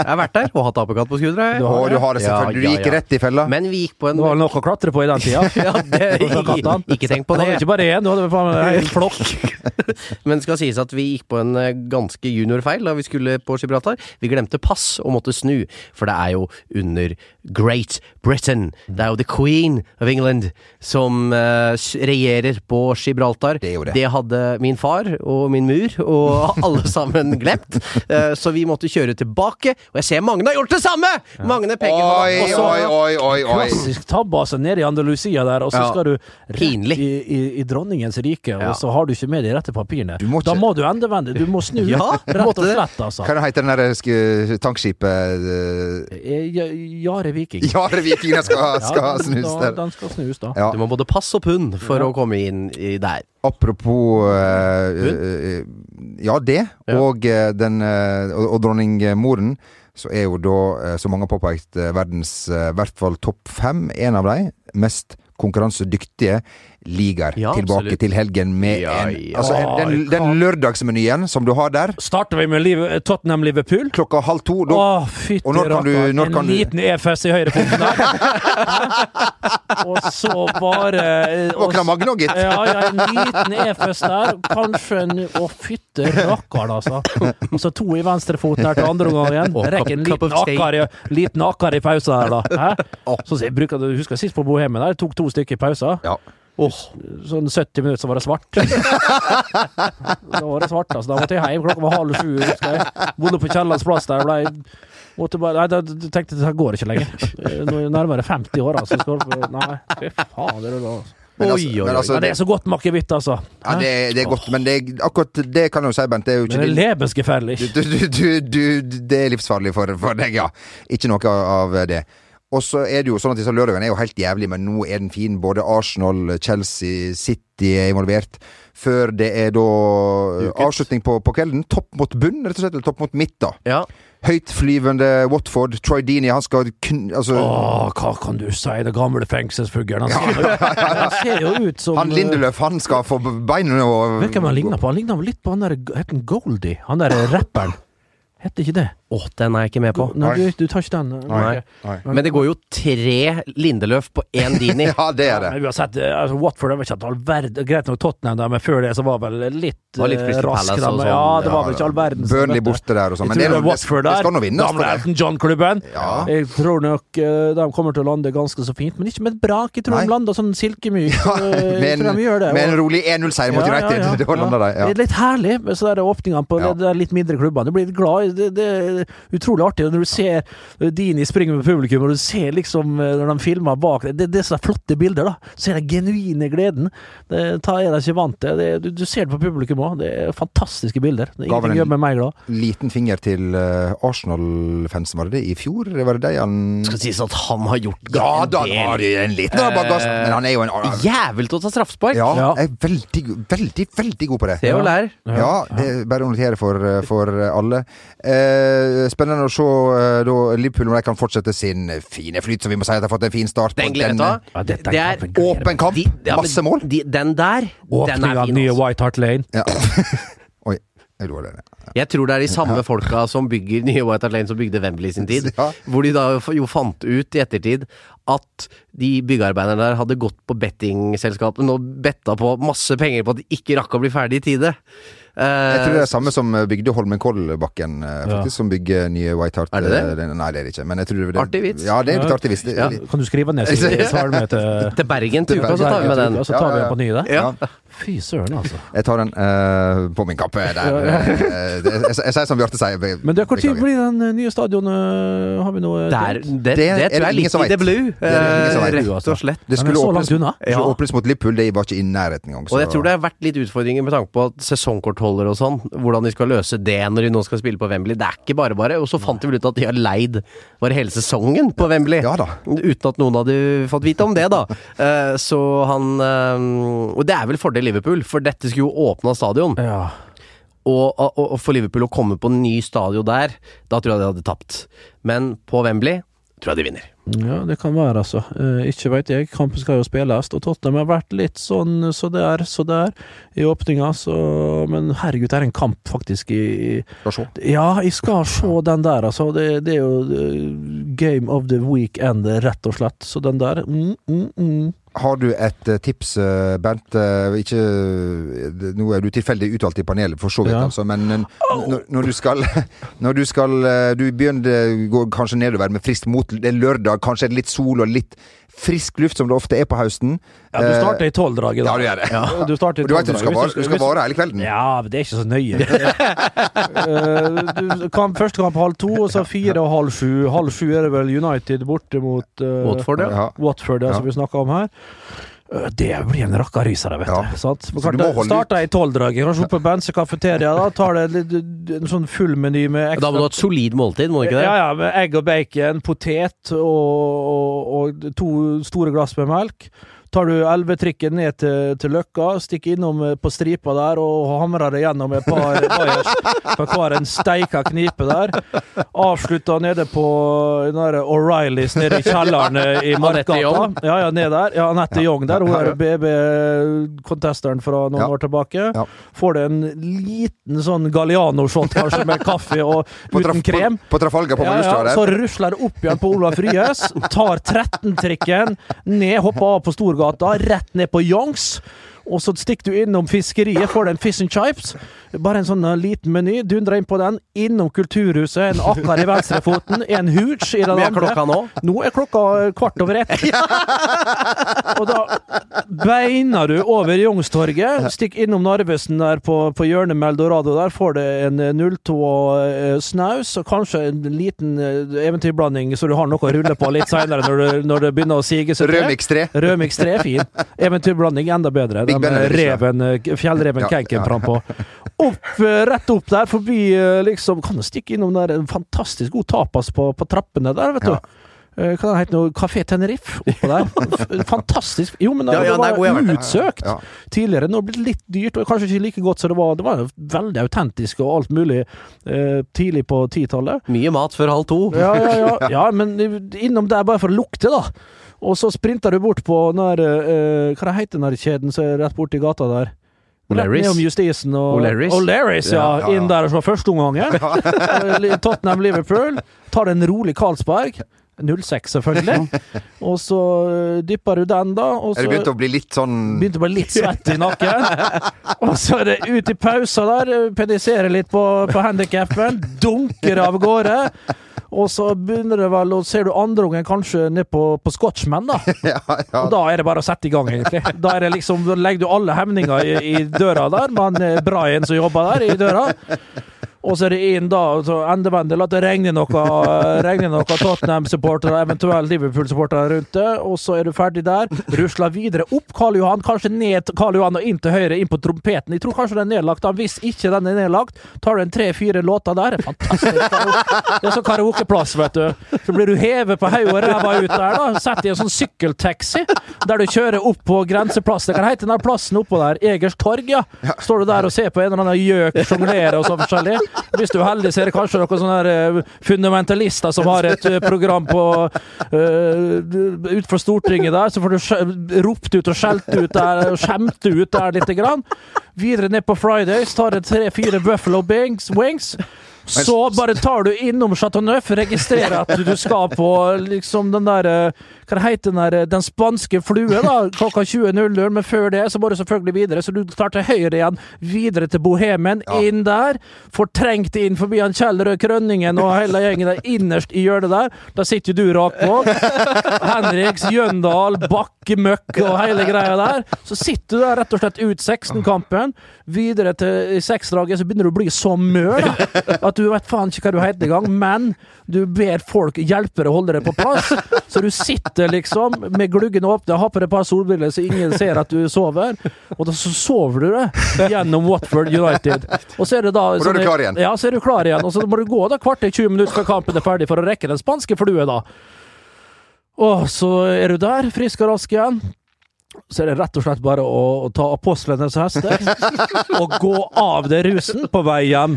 [SPEAKER 3] Jeg har vært der og hatt apekatt på skuldra. jeg.
[SPEAKER 1] Å, du har det selvfølgelig.
[SPEAKER 3] Ja, ja,
[SPEAKER 1] Du gikk
[SPEAKER 3] ja.
[SPEAKER 1] rett i fella.
[SPEAKER 3] Men vi gikk på en
[SPEAKER 4] Det var nok å klatre på i den tida.
[SPEAKER 3] Ja, det,
[SPEAKER 4] Kattene.
[SPEAKER 3] ikke tenk på
[SPEAKER 4] Du hadde
[SPEAKER 3] det.
[SPEAKER 4] ikke bare én, du hadde vel faen meg en hel flokk.
[SPEAKER 3] Men skal sies at vi gikk på en eh, ganske juniorfeil da vi skulle på Gibraltar. Vi glemte pass og måtte snu, for det er jo under Great Britain. Det er jo the queen of England som eh, s- regjerer på Gibraltar.
[SPEAKER 1] Det er jo det.
[SPEAKER 3] hadde min far og min mur og alle sammen glemt, Eh, så vi måtte kjøre tilbake. Og jeg ser Magne har gjort det samme! Magne peker på
[SPEAKER 1] Oi,
[SPEAKER 3] og så-
[SPEAKER 1] oi, oi, oi, oi.
[SPEAKER 4] Klassisk tabbe, altså. Nede i Andalusia der, og så
[SPEAKER 3] Ja.
[SPEAKER 4] skal du rett
[SPEAKER 3] Pinlig.
[SPEAKER 4] i, i, i dronningens rike,
[SPEAKER 3] Ja.
[SPEAKER 4] og så har du ikke med de rette papirene.
[SPEAKER 1] Du må
[SPEAKER 4] Da
[SPEAKER 1] ikke-
[SPEAKER 4] må du endevende. Du må snu,
[SPEAKER 3] Ja,
[SPEAKER 4] rett og
[SPEAKER 3] måtte det.
[SPEAKER 4] slett, altså.
[SPEAKER 1] Hva heter den der sk- tankskipet eh,
[SPEAKER 4] Eh, Ja- Jare Viking.
[SPEAKER 1] Jare Vikingene skal, skal
[SPEAKER 4] Ja, den-
[SPEAKER 1] snus
[SPEAKER 4] da-
[SPEAKER 1] der.
[SPEAKER 4] Den skal snus, da.
[SPEAKER 1] Ja.
[SPEAKER 3] Du må både pass og pund for å komme inn i der.
[SPEAKER 1] Apropos eh, eh, Ja, det. Og, eh, den, eh, og, og dronningmoren. Så er jo da, eh, som mange har påpekt, eh, verdens eh, i hvert fall topp fem, en av de mest konkurransedyktige ligaer.
[SPEAKER 3] Ja,
[SPEAKER 1] Tilbake
[SPEAKER 3] absolutt.
[SPEAKER 1] til helgen med
[SPEAKER 3] Ja,
[SPEAKER 1] en
[SPEAKER 3] ja.
[SPEAKER 1] Altså,
[SPEAKER 4] Oi,
[SPEAKER 1] den, den lørdagsmenyen som du har der,
[SPEAKER 4] Starter vi med Liv- Tottenham Liverpool?
[SPEAKER 1] klokka halv to da,
[SPEAKER 4] Å, fytti
[SPEAKER 1] og når kan du-
[SPEAKER 4] rakkeren.
[SPEAKER 1] når kan
[SPEAKER 4] En
[SPEAKER 1] du-
[SPEAKER 4] liten EFS i høyrefoten der. og så bare eh, og
[SPEAKER 1] Våkner Magne og gitt.
[SPEAKER 4] Ja, ja, en liten EFS der. Kanskje en Å, fytte rakkeren, altså. Og så to i venstrefoten her til andre omgang igjen.
[SPEAKER 3] Og
[SPEAKER 4] Rekk en
[SPEAKER 3] cup- cup
[SPEAKER 4] liten
[SPEAKER 3] of tea.
[SPEAKER 4] akkar i, liten akkar i pausen her, da. Hæ? Så jeg bruker, du husker sist på Bohemen der, tok to stykker i pausen.
[SPEAKER 1] Ja.
[SPEAKER 4] Sånn 70 minutter, så var det svart. da var det svart, altså. Da måtte jeg hjem. Klokka var halv sju. husker jeg. Bodde på Kiellands plass der. Ble, måtte bare, nei, da tenkte jeg det her går ikke lenger. Eh, Nå er jeg nærmere 50 år, altså. Skal, nei, fy faen, det er det, altså.
[SPEAKER 1] Men
[SPEAKER 3] Oi,
[SPEAKER 1] altså,
[SPEAKER 3] oi,
[SPEAKER 1] men
[SPEAKER 3] oi.
[SPEAKER 1] altså
[SPEAKER 4] Ja, det er så godt makevitt, altså.
[SPEAKER 1] ja, det, det er godt, men det, er- akkurat det kan jeg jo si, Bent. Det er jo
[SPEAKER 4] Men
[SPEAKER 1] ikke
[SPEAKER 4] det
[SPEAKER 1] din
[SPEAKER 4] er lebensgefährlig.
[SPEAKER 1] du, du, du, du, det er livsfarlig for, for deg, ja. Ikke noe av det. Og så er det jo sånn at disse lørdagene er jo helt jævlig, men nå er den fin. Både Arsenal, Chelsea, City er involvert. Før det er da eh, avslutning på, på kvelden. Topp mot bunn, rett og slett. Eller topp mot midt, da.
[SPEAKER 3] Ja.
[SPEAKER 1] Høytflyvende Watford. Troy Deeney, han skal kun... Altså,
[SPEAKER 4] Åh, hva kan du si, det gamle fengselsfuglen? Han, ser jo- han ser jo ut som
[SPEAKER 1] han Lindeløf, han skal få beina og
[SPEAKER 4] Vet du hvem han ligner på? Han ligner litt på han der het han Goldie, han der rapperen. Heter ikke det?
[SPEAKER 3] Å, den er jeg ikke med på.
[SPEAKER 4] Nei, du, du tar ikke den? eh,
[SPEAKER 3] Nei. Men det går jo tre Lindeløf på én Dini.
[SPEAKER 1] Ja, det er det.
[SPEAKER 4] Men uansett, eh, altså, Watford er ikke all verden Greit nok Tottenham, der, men før det så var vel litt
[SPEAKER 3] var litt
[SPEAKER 4] eh,
[SPEAKER 3] Crystal
[SPEAKER 4] rask.
[SPEAKER 3] Palace
[SPEAKER 4] da,
[SPEAKER 3] og
[SPEAKER 4] men
[SPEAKER 3] sånn.
[SPEAKER 4] Ja, det var vel ikke all verden. som
[SPEAKER 1] Burnley
[SPEAKER 4] dette.
[SPEAKER 1] borte der og sånn.
[SPEAKER 4] Jeg
[SPEAKER 1] Men det, er
[SPEAKER 4] tror det
[SPEAKER 1] jo-
[SPEAKER 4] er Watford
[SPEAKER 1] det
[SPEAKER 4] der.
[SPEAKER 1] skal nå vinnes.
[SPEAKER 4] Gamle
[SPEAKER 1] for det.
[SPEAKER 4] Elton John-klubben.
[SPEAKER 1] Ja.
[SPEAKER 4] Jeg tror nok eh, de kommer til å lande ganske så fint, men ikke med et brak. Jeg tror
[SPEAKER 1] Nei.
[SPEAKER 4] de lander sånn silkemyk. eh, jeg
[SPEAKER 1] Med
[SPEAKER 4] tror de gjør det.
[SPEAKER 1] en, med en
[SPEAKER 4] og-
[SPEAKER 1] rolig 1-0-seier mot
[SPEAKER 4] Ja, ja,
[SPEAKER 1] United.
[SPEAKER 4] ja.
[SPEAKER 1] Det var
[SPEAKER 4] Ja.
[SPEAKER 1] landet der, ja.
[SPEAKER 4] Det er litt herlig med sånne der åpningene på
[SPEAKER 1] Ja.
[SPEAKER 4] de der litt mindre klubbene. Du blir litt glad. i- Det, det er utrolig artig når du ser eh, Dini springe med publikum, og du ser liksom eh, når de filmer bak deg. Det, det er sånne flotte bilder, da. Så er den genuine gleden. Det tar jeg deg ikke vant til. Det, du, du ser det på publikum òg. Det er fantastiske bilder. Det er
[SPEAKER 1] Gav han en-
[SPEAKER 4] ingenting gjør meg mer glad.
[SPEAKER 1] Liten finger til eh, Arsenal-fansen, var det det? I fjor? Var det det han
[SPEAKER 3] skal sies at han har gjort
[SPEAKER 1] Ja
[SPEAKER 3] en
[SPEAKER 1] da,
[SPEAKER 3] del.
[SPEAKER 1] han har jo en liten bagasje, men han er jo en
[SPEAKER 3] Jævel til å ta straffespark!
[SPEAKER 1] Ja,
[SPEAKER 4] Eh, Ja.
[SPEAKER 1] jeg er veldig, veldig, veldig god på det.
[SPEAKER 3] Det er jo lær.
[SPEAKER 1] Ja, det er bare å notere for, eh, for eh, alle. Eh, spennende å se eh, da Liverpool om de kan fortsette sin fine flyt, så vi må si at de har fått en fin start.
[SPEAKER 3] Den
[SPEAKER 1] på
[SPEAKER 3] gleder jeg meg til.
[SPEAKER 4] Ja, dette er
[SPEAKER 3] Det er
[SPEAKER 4] kampen.
[SPEAKER 1] Åpen kamp,
[SPEAKER 3] de- ja, men
[SPEAKER 1] masse mål.
[SPEAKER 3] De, den der, den
[SPEAKER 4] Åpning
[SPEAKER 3] er
[SPEAKER 4] av
[SPEAKER 3] fin.
[SPEAKER 4] nye
[SPEAKER 3] Altså.
[SPEAKER 4] White Hart Lane.
[SPEAKER 1] Ja. Oi, jeg lo av det.
[SPEAKER 3] Jeg tror det er de samme folka som bygger nye White Hart Lane som bygde Wembley i sin tid.
[SPEAKER 1] Ja.
[SPEAKER 3] Hvor de da jo- jo fant ut i ettertid at de byggearbeiderne der hadde gått på bettingselskapene og betta på masse penger på at de ikke rakk å bli ferdig i tide. Eh,
[SPEAKER 1] Jeg tror det er det samme som bygde Holmenkollbakken, eh, faktisk, som bygger nye White Hart.
[SPEAKER 3] Er det det?
[SPEAKER 1] eh, den- Nei, det er det ikke. Men jeg tror det,
[SPEAKER 3] Artig vits.
[SPEAKER 1] Ja, det er litt artig vits. Det-
[SPEAKER 3] Ja.
[SPEAKER 4] Kan du skrive ned svaren min til
[SPEAKER 3] Til Bergen til uka,
[SPEAKER 1] Bergen
[SPEAKER 3] så tar vi med den.
[SPEAKER 4] Og så
[SPEAKER 1] Ja,
[SPEAKER 4] tar vi
[SPEAKER 1] ja, ja.
[SPEAKER 4] den på nye der.
[SPEAKER 3] Ja.
[SPEAKER 4] Fy søren, altså.
[SPEAKER 1] Jeg tar den eh, på min kappe der. Eh, det- jeg, jeg, jeg sier som Bjarte sier. be-
[SPEAKER 4] Men du, hvor tid
[SPEAKER 1] beklager.
[SPEAKER 4] blir den eh, nye stadionet? Har vi noe eh,
[SPEAKER 3] Der,
[SPEAKER 4] tenkt?
[SPEAKER 3] det, det,
[SPEAKER 1] Det er det
[SPEAKER 3] tror jeg er
[SPEAKER 1] ingen
[SPEAKER 3] litt
[SPEAKER 1] som
[SPEAKER 3] i det
[SPEAKER 1] vet.
[SPEAKER 3] blue,
[SPEAKER 1] Det er det ingen som
[SPEAKER 3] eh,
[SPEAKER 1] vet.
[SPEAKER 3] rett og slett.
[SPEAKER 1] Det
[SPEAKER 4] Nei, men
[SPEAKER 1] skulle
[SPEAKER 4] så
[SPEAKER 1] åpnes,
[SPEAKER 4] langt unna?
[SPEAKER 1] skulle
[SPEAKER 3] Ja.
[SPEAKER 1] åpnes mot Liverpool, det var ikke i nærheten engang. så-
[SPEAKER 3] Og jeg tror det har vært litt utfordringer med tanke på at sesongkortholder og sånn. Hvordan de skal løse det når de nå skal spille på Wembley. Det er ikke bare bare. Og så fant de vel ut at de har leid bare hele sesongen på Wembley.
[SPEAKER 1] Ja da.
[SPEAKER 3] Uten at noen hadde fått vite om det, da. Eh, Så han eh, Og det er vel fordel Liverpool, for dette skulle jo åpna stadion.
[SPEAKER 4] Ja.
[SPEAKER 3] Og, og, og for Liverpool å komme på en ny stadion der, da tror jeg de hadde tapt. Men på Wembley tror jeg de vinner.
[SPEAKER 4] Ja, det kan være, altså. Eh, ikke veit jeg. Kampen skal jo spilles, og Tottenham har vært litt sånn så der, så der i åpninga, så Men herregud, det er en kamp faktisk i
[SPEAKER 1] Skal se.
[SPEAKER 4] Ja, jeg skal se den der, altså. Det, det er jo eh, game of the weekend, rett og slett. Så den der mm, mm, mm.
[SPEAKER 1] Har du et eh, tips, eh, Bernt? Eh, Ikke eh, Nå er du tilfeldig utvalgt i panelet, for så vidt,
[SPEAKER 4] Ja.
[SPEAKER 1] altså, men eh, når, når du skal Når du skal eh, Du begynner går kanskje nedover med friskt mot. Det er lørdag, kanskje er det litt sol og litt frisk luft, som det ofte er på høsten.
[SPEAKER 4] Ja, du starter i tolvdraget, da.
[SPEAKER 1] Eh, Ja, du gjør det.
[SPEAKER 4] Ja, du starter i
[SPEAKER 1] Du vet at du skal
[SPEAKER 4] tolvdraget.
[SPEAKER 1] vare, du skal vare hele kvelden.
[SPEAKER 4] Ja, men det er ikke så nøye. Eh, du- kamp, første kamp halv to, og så fire og halv sju. Halv sju er det vel United borte mot eh,
[SPEAKER 3] Watford, ja.
[SPEAKER 1] Ja.
[SPEAKER 4] Watford, ja, som
[SPEAKER 1] Ja.
[SPEAKER 4] vi snakka om her. Eh, Det blir en rakkarysere, vet
[SPEAKER 1] Ja.
[SPEAKER 4] du. Sant? Men
[SPEAKER 1] Så du må
[SPEAKER 4] klart,
[SPEAKER 1] holde
[SPEAKER 4] Starter i tolvdraget, kanskje oppe på Bense kafeteria. Da tar det litt- en sånn full meny med
[SPEAKER 3] Da
[SPEAKER 4] ekstra
[SPEAKER 3] må du ha et solid måltid, må du ikke det?
[SPEAKER 4] ja, ja, med egg og bacon, potet og, og, og to store glass med melk. Tar du elvetrikken ned til, til Løkka, stikker innom eh, på stripa der og hamrer det gjennom et par bayers på hver en steika knipe der. Avslutter nede på den der O'Reillys nede i kjelleren eh, i
[SPEAKER 3] Anette
[SPEAKER 4] Markgata.
[SPEAKER 3] Young.
[SPEAKER 4] Ja, ja, ned der. Ja, Anette Young der. Hun er BB-contesteren fra noen
[SPEAKER 1] Ja.
[SPEAKER 4] år tilbake.
[SPEAKER 1] Ja.
[SPEAKER 4] Får det en liten sånn Galliano-shot kanskje med kaffe og
[SPEAKER 1] På
[SPEAKER 4] uten
[SPEAKER 1] traf-
[SPEAKER 4] krem.
[SPEAKER 1] På, på Trafalgar på Majorstua
[SPEAKER 4] Så rusler det opp igjen på Olav Ryes, tar 13-trikken ned, hopper av på Storgata, rett ned på Youngs. Og så stikker du innom fiskeriet, får deg en fish and chips. Bare en sånn eh, liten meny. Dundrer inn på den. Innom Kulturhuset, en akkar i venstrefoten, en hooch i den
[SPEAKER 3] Hvor mye er
[SPEAKER 4] andre.
[SPEAKER 3] klokka nå?
[SPEAKER 4] Nå er klokka kvart over ett. og da beiner du over Youngstorget, stikk innom Narvesen der på, på hjørnet med Eldorado. Der får du en eh, 02 eh, snaus og kanskje en liten eh, eventyrblanding, så du har noe å rulle på litt seinere når, du- når det begynner å sige seg til.
[SPEAKER 1] Rødmix 3.
[SPEAKER 4] Rødmix 3 er fin. Eventyrblanding enda bedre.
[SPEAKER 1] Big
[SPEAKER 4] Den
[SPEAKER 1] Ben er det ikke.
[SPEAKER 4] reven, eh, fjellreven
[SPEAKER 1] Ja,
[SPEAKER 4] Kenken
[SPEAKER 1] ja.
[SPEAKER 4] frampå. Opp, eh, Rett opp der, forbi eh, liksom Kan du stikke innom der en fantastisk god tapas på, på trappene der, vet
[SPEAKER 1] Ja.
[SPEAKER 4] du. Eh, Hva heter det? Kafé Tenerife oppå der. F- Fantastisk. Jo, men
[SPEAKER 3] Ja, ja,
[SPEAKER 4] det var
[SPEAKER 3] nei, hvor jeg har vært der.
[SPEAKER 4] utsøkt
[SPEAKER 1] Ja.
[SPEAKER 4] tidligere. Nå har det blitt litt dyrt, og kanskje ikke like godt som det var. Det var jo veldig autentisk og alt mulig eh, tidlig på 10-tallet.
[SPEAKER 3] Mye mat før halv to.
[SPEAKER 4] Ja, ja, ja. ja, men innom der bare for å lukte, da. Og så sprinter du bort på når eh, Hva heter den der kjeden som er rett borti gata der?
[SPEAKER 3] O'Learys.
[SPEAKER 4] Om justisen og
[SPEAKER 3] O'Learys.
[SPEAKER 4] O'Learys, ja.
[SPEAKER 1] Ja, ja, ja.
[SPEAKER 4] Inn der og slå førsteomgangen. Tottenham-Liverpool. Tar en rolig Carlsberg. 06, selvfølgelig. Og så eh, dypper du den, da. Og
[SPEAKER 1] Er det
[SPEAKER 4] så
[SPEAKER 1] begynt å bli litt sånn
[SPEAKER 4] Begynte å bli litt svett i nakken. Og så er det ut i pausa der, pedisere litt på, på handikappen, dunker av gårde. Og så begynner det vel, og ser du andreungen kanskje ned på, på Scotchman, da.
[SPEAKER 1] ja, ja.
[SPEAKER 4] Og da er det bare å sette i gang, egentlig. Da er det liksom, da legger du alle hemninger i, i døra der, med han eh, Brian som jobber der, i døra. Og så er det inn da, og så endevendig, la det regne noe, regne noe Tottenham-supportere, eventuelt Liverpool-supportere rundt det, og så er du ferdig der. Rusler videre opp Karl Johan, kanskje ned til Karl Johan og inn til høyre, inn på trompeten. Jeg tror kanskje den er nedlagt, da. Hvis ikke den er nedlagt, tar du en tre-fire låter der. Det er Fantastisk. karaoke. Det er sånn karaokeplass, vet du. Så blir du hevet på hodet og ræva ut der, da. Sett i en sånn sykkeltaxi, der du kjører opp på grenseplassen. Hva heter den der plassen oppå der? Egers torg, ja. Står du der og ser på en eller annen gjøk sjonglere og sånn forskjellig. Hvis du er heldig, så er det kanskje noen sånne her, eh, fundamentalister som har et eh, program på eh, utenfor Stortinget der, så får du skje- ropt ut og skjelt ut der, og skjemt ut der lite grann. Videre ned på Fridays, tar det tre-fire Buffalo Bings, Wings. Så bare tar du innom Chateau Neuf, registrerer at du skal på liksom den der eh, Hva heter den der eh, Den spanske flue, da, klokka 20.00, men før det så må du selvfølgelig videre. Så du tar til høyre igjen, videre til Bohemen, inn der. Fortrengt inn forbi han Kjell Røe Krønningen og hele gjengen der innerst i hjørnet der. Da sitter jo du rakvåg. Henriks, Jøndal, Bakke, Møkk og hele greia der. Så sitter du der rett og slett ut 16-kampen. Videre til i seksdraget så begynner du å bli så mør da, at du vet faen ikke hva du heter engang, men du ber folk hjelpe deg å holde deg på plass. Så du sitter liksom med gluggene åpne, har på deg et par solbriller så ingen ser at du sover, og da så sover du det gjennom Watford United. Og så er det da
[SPEAKER 1] Og da er du
[SPEAKER 4] sånne-
[SPEAKER 1] klar igjen.
[SPEAKER 4] Ja, så er du klar igjen. Og så må du gå da kvarter 20 minutter før kampen er ferdig for å rekke den spanske flue, da. Og så er du der, frisk og rask igjen. Så er det rett og slett bare å, å ta apostlenes hester og gå av det rusen på vei hjem.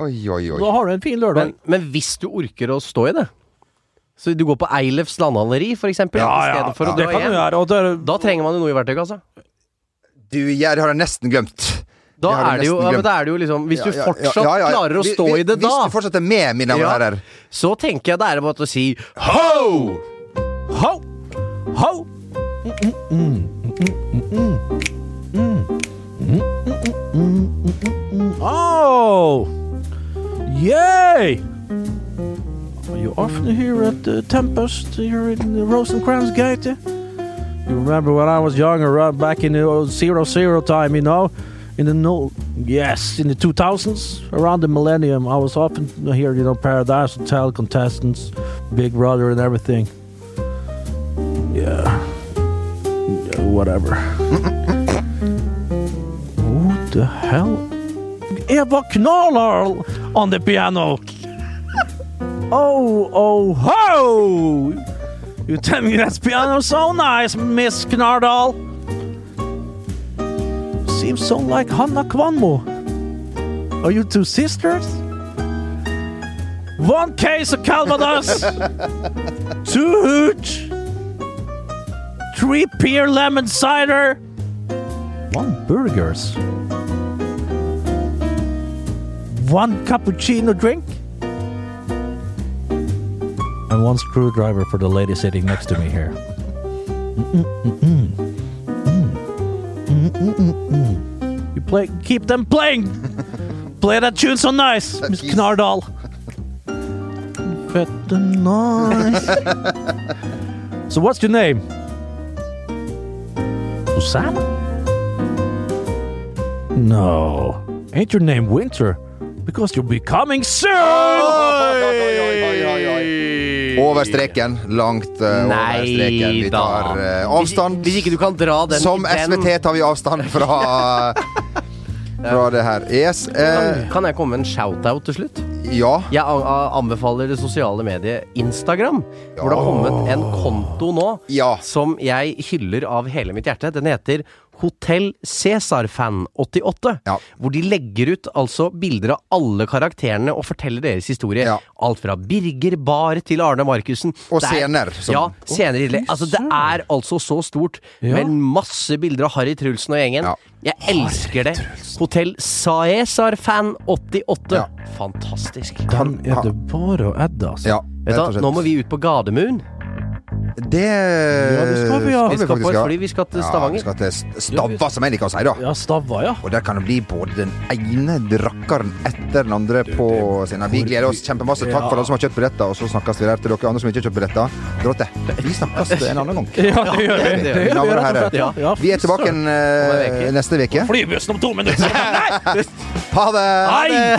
[SPEAKER 1] Oi, oi, oi.
[SPEAKER 4] Da har du en fin lørdag.
[SPEAKER 3] Men, men hvis du orker å stå i det Så du går på Eilefs landhandleri, for eksempel,
[SPEAKER 4] Ja,
[SPEAKER 3] i
[SPEAKER 4] ja,
[SPEAKER 3] stedet for
[SPEAKER 4] ja.
[SPEAKER 3] å
[SPEAKER 4] Det
[SPEAKER 3] dra
[SPEAKER 4] kan du
[SPEAKER 3] hjem.
[SPEAKER 4] gjøre. Og der,
[SPEAKER 3] Da trenger man jo noe i altså. verktøykassa.
[SPEAKER 1] Du, ja, det har jeg nesten glemt.
[SPEAKER 3] Da
[SPEAKER 1] Det har
[SPEAKER 3] er
[SPEAKER 1] du
[SPEAKER 3] det jo,
[SPEAKER 1] nesten
[SPEAKER 3] ja, men
[SPEAKER 1] glemt.
[SPEAKER 3] da er det jo liksom Hvis du
[SPEAKER 1] Ja, ja, ja,
[SPEAKER 3] fortsatt
[SPEAKER 1] ja, ja, ja.
[SPEAKER 3] klarer å
[SPEAKER 1] Vi-
[SPEAKER 3] stå
[SPEAKER 1] vi-
[SPEAKER 3] i det da,
[SPEAKER 1] Hvis du fortsatt er med, mine damer og
[SPEAKER 3] Ja.
[SPEAKER 1] herrer.
[SPEAKER 3] så tenker jeg det er bare å si
[SPEAKER 4] Ho! Ho! Ho! Oh! Yay! You often hear at the Tempest here in the Rosencrantz-gate. You remember when I was younger, uh, back in the old zero zero time, you know? In the no, yes, in the 2000s, around the millennium, I was often here, you know, Paradise Hotel contestants, Big Brother, and everything. Yeah. Yeah, Whatever. Who the hell? Eva Knollerl on the piano. oh, oh, ho! You tell me that's piano so nice, Miss Knardal. Seems so like Hanna Kvanmo. Are you two sisters? One case of Calvados, two hooch, three pear lemon cider, one burgers, one cappuccino drink, and one screwdriver for the lady sitting next to me here. Mm-mm-mm-mm. Mm. Mm-mm-mm-mm. You play, keep them playing. play that tune so nice, Miss
[SPEAKER 1] piece.
[SPEAKER 4] Knardal. Fette nice. so what's your name? Susanna? No. Ain't your name Winter? Because you'll be coming soon!
[SPEAKER 1] Over streken. Langt eh, over streken. Vi tar eh, avstand.
[SPEAKER 3] Hvis, hvis ikke du kan dra den
[SPEAKER 1] Som
[SPEAKER 3] i den-
[SPEAKER 1] SVT tar vi avstand fra Fra det her. Yes.
[SPEAKER 3] Kan,
[SPEAKER 1] eh,
[SPEAKER 3] kan jeg komme med en shout-out til slutt?
[SPEAKER 1] ja.
[SPEAKER 3] Jeg a- a- anbefaler det sosiale mediet Instagram, hvor det har kommet en konto nå
[SPEAKER 1] Ja.
[SPEAKER 3] som jeg hyller av hele mitt hjerte. Den heter Hotell Cæsar-fan88,
[SPEAKER 1] Ja.
[SPEAKER 3] hvor de legger ut altså bilder av alle karakterene og forteller deres historie.
[SPEAKER 1] Ja.
[SPEAKER 3] Alt fra Birger Bar til Arne Markussen.
[SPEAKER 1] Og
[SPEAKER 3] Det er-
[SPEAKER 1] scener, som-
[SPEAKER 3] Ja, scener i tillegg. Altså, det er altså så stort, med masse bilder av Harry Trulsen og gjengen.
[SPEAKER 1] Ja.
[SPEAKER 3] Jeg elsker det. Hotell Cæsar-fan88.
[SPEAKER 1] Ja.
[SPEAKER 3] Fantastisk.
[SPEAKER 4] Den er det bare å edde, altså.
[SPEAKER 1] ja
[SPEAKER 3] Vet
[SPEAKER 1] rett
[SPEAKER 3] du,
[SPEAKER 1] og
[SPEAKER 3] hva,
[SPEAKER 1] slett.
[SPEAKER 3] nå må vi ut på Gardermoen.
[SPEAKER 1] Det
[SPEAKER 4] det skal vi, ja.
[SPEAKER 1] skal
[SPEAKER 3] Vi skal på
[SPEAKER 1] faktisk
[SPEAKER 3] et
[SPEAKER 1] ha.
[SPEAKER 3] fly, vi skal til
[SPEAKER 1] Ja, vi
[SPEAKER 3] Stavanger.
[SPEAKER 1] skal til Stavva, som jeg liker å si, da.
[SPEAKER 4] Ja, Stavva, ja.
[SPEAKER 1] Og der kan det bli både den ene drakkeren etter den andre på scenen. Vi gleder oss kjempemasse. Takk for alle som har kjøpt billetter, og så snakkes vi der til dere andre som ikke har kjøpt billetter. Drotte, vi snakkes en annen gang.
[SPEAKER 4] Ja, det gjør
[SPEAKER 3] det
[SPEAKER 4] vi. Det
[SPEAKER 1] gjør vi,
[SPEAKER 4] gjør
[SPEAKER 1] rett og
[SPEAKER 4] vi, rett og
[SPEAKER 1] slett,
[SPEAKER 4] slett.
[SPEAKER 3] ja.
[SPEAKER 4] Ja,
[SPEAKER 1] Vi er tilbake en,
[SPEAKER 3] Om
[SPEAKER 1] eh,
[SPEAKER 3] en
[SPEAKER 1] neste uke.
[SPEAKER 4] Flybussen om to minutter! Nei!
[SPEAKER 1] Ha det!
[SPEAKER 4] Nei!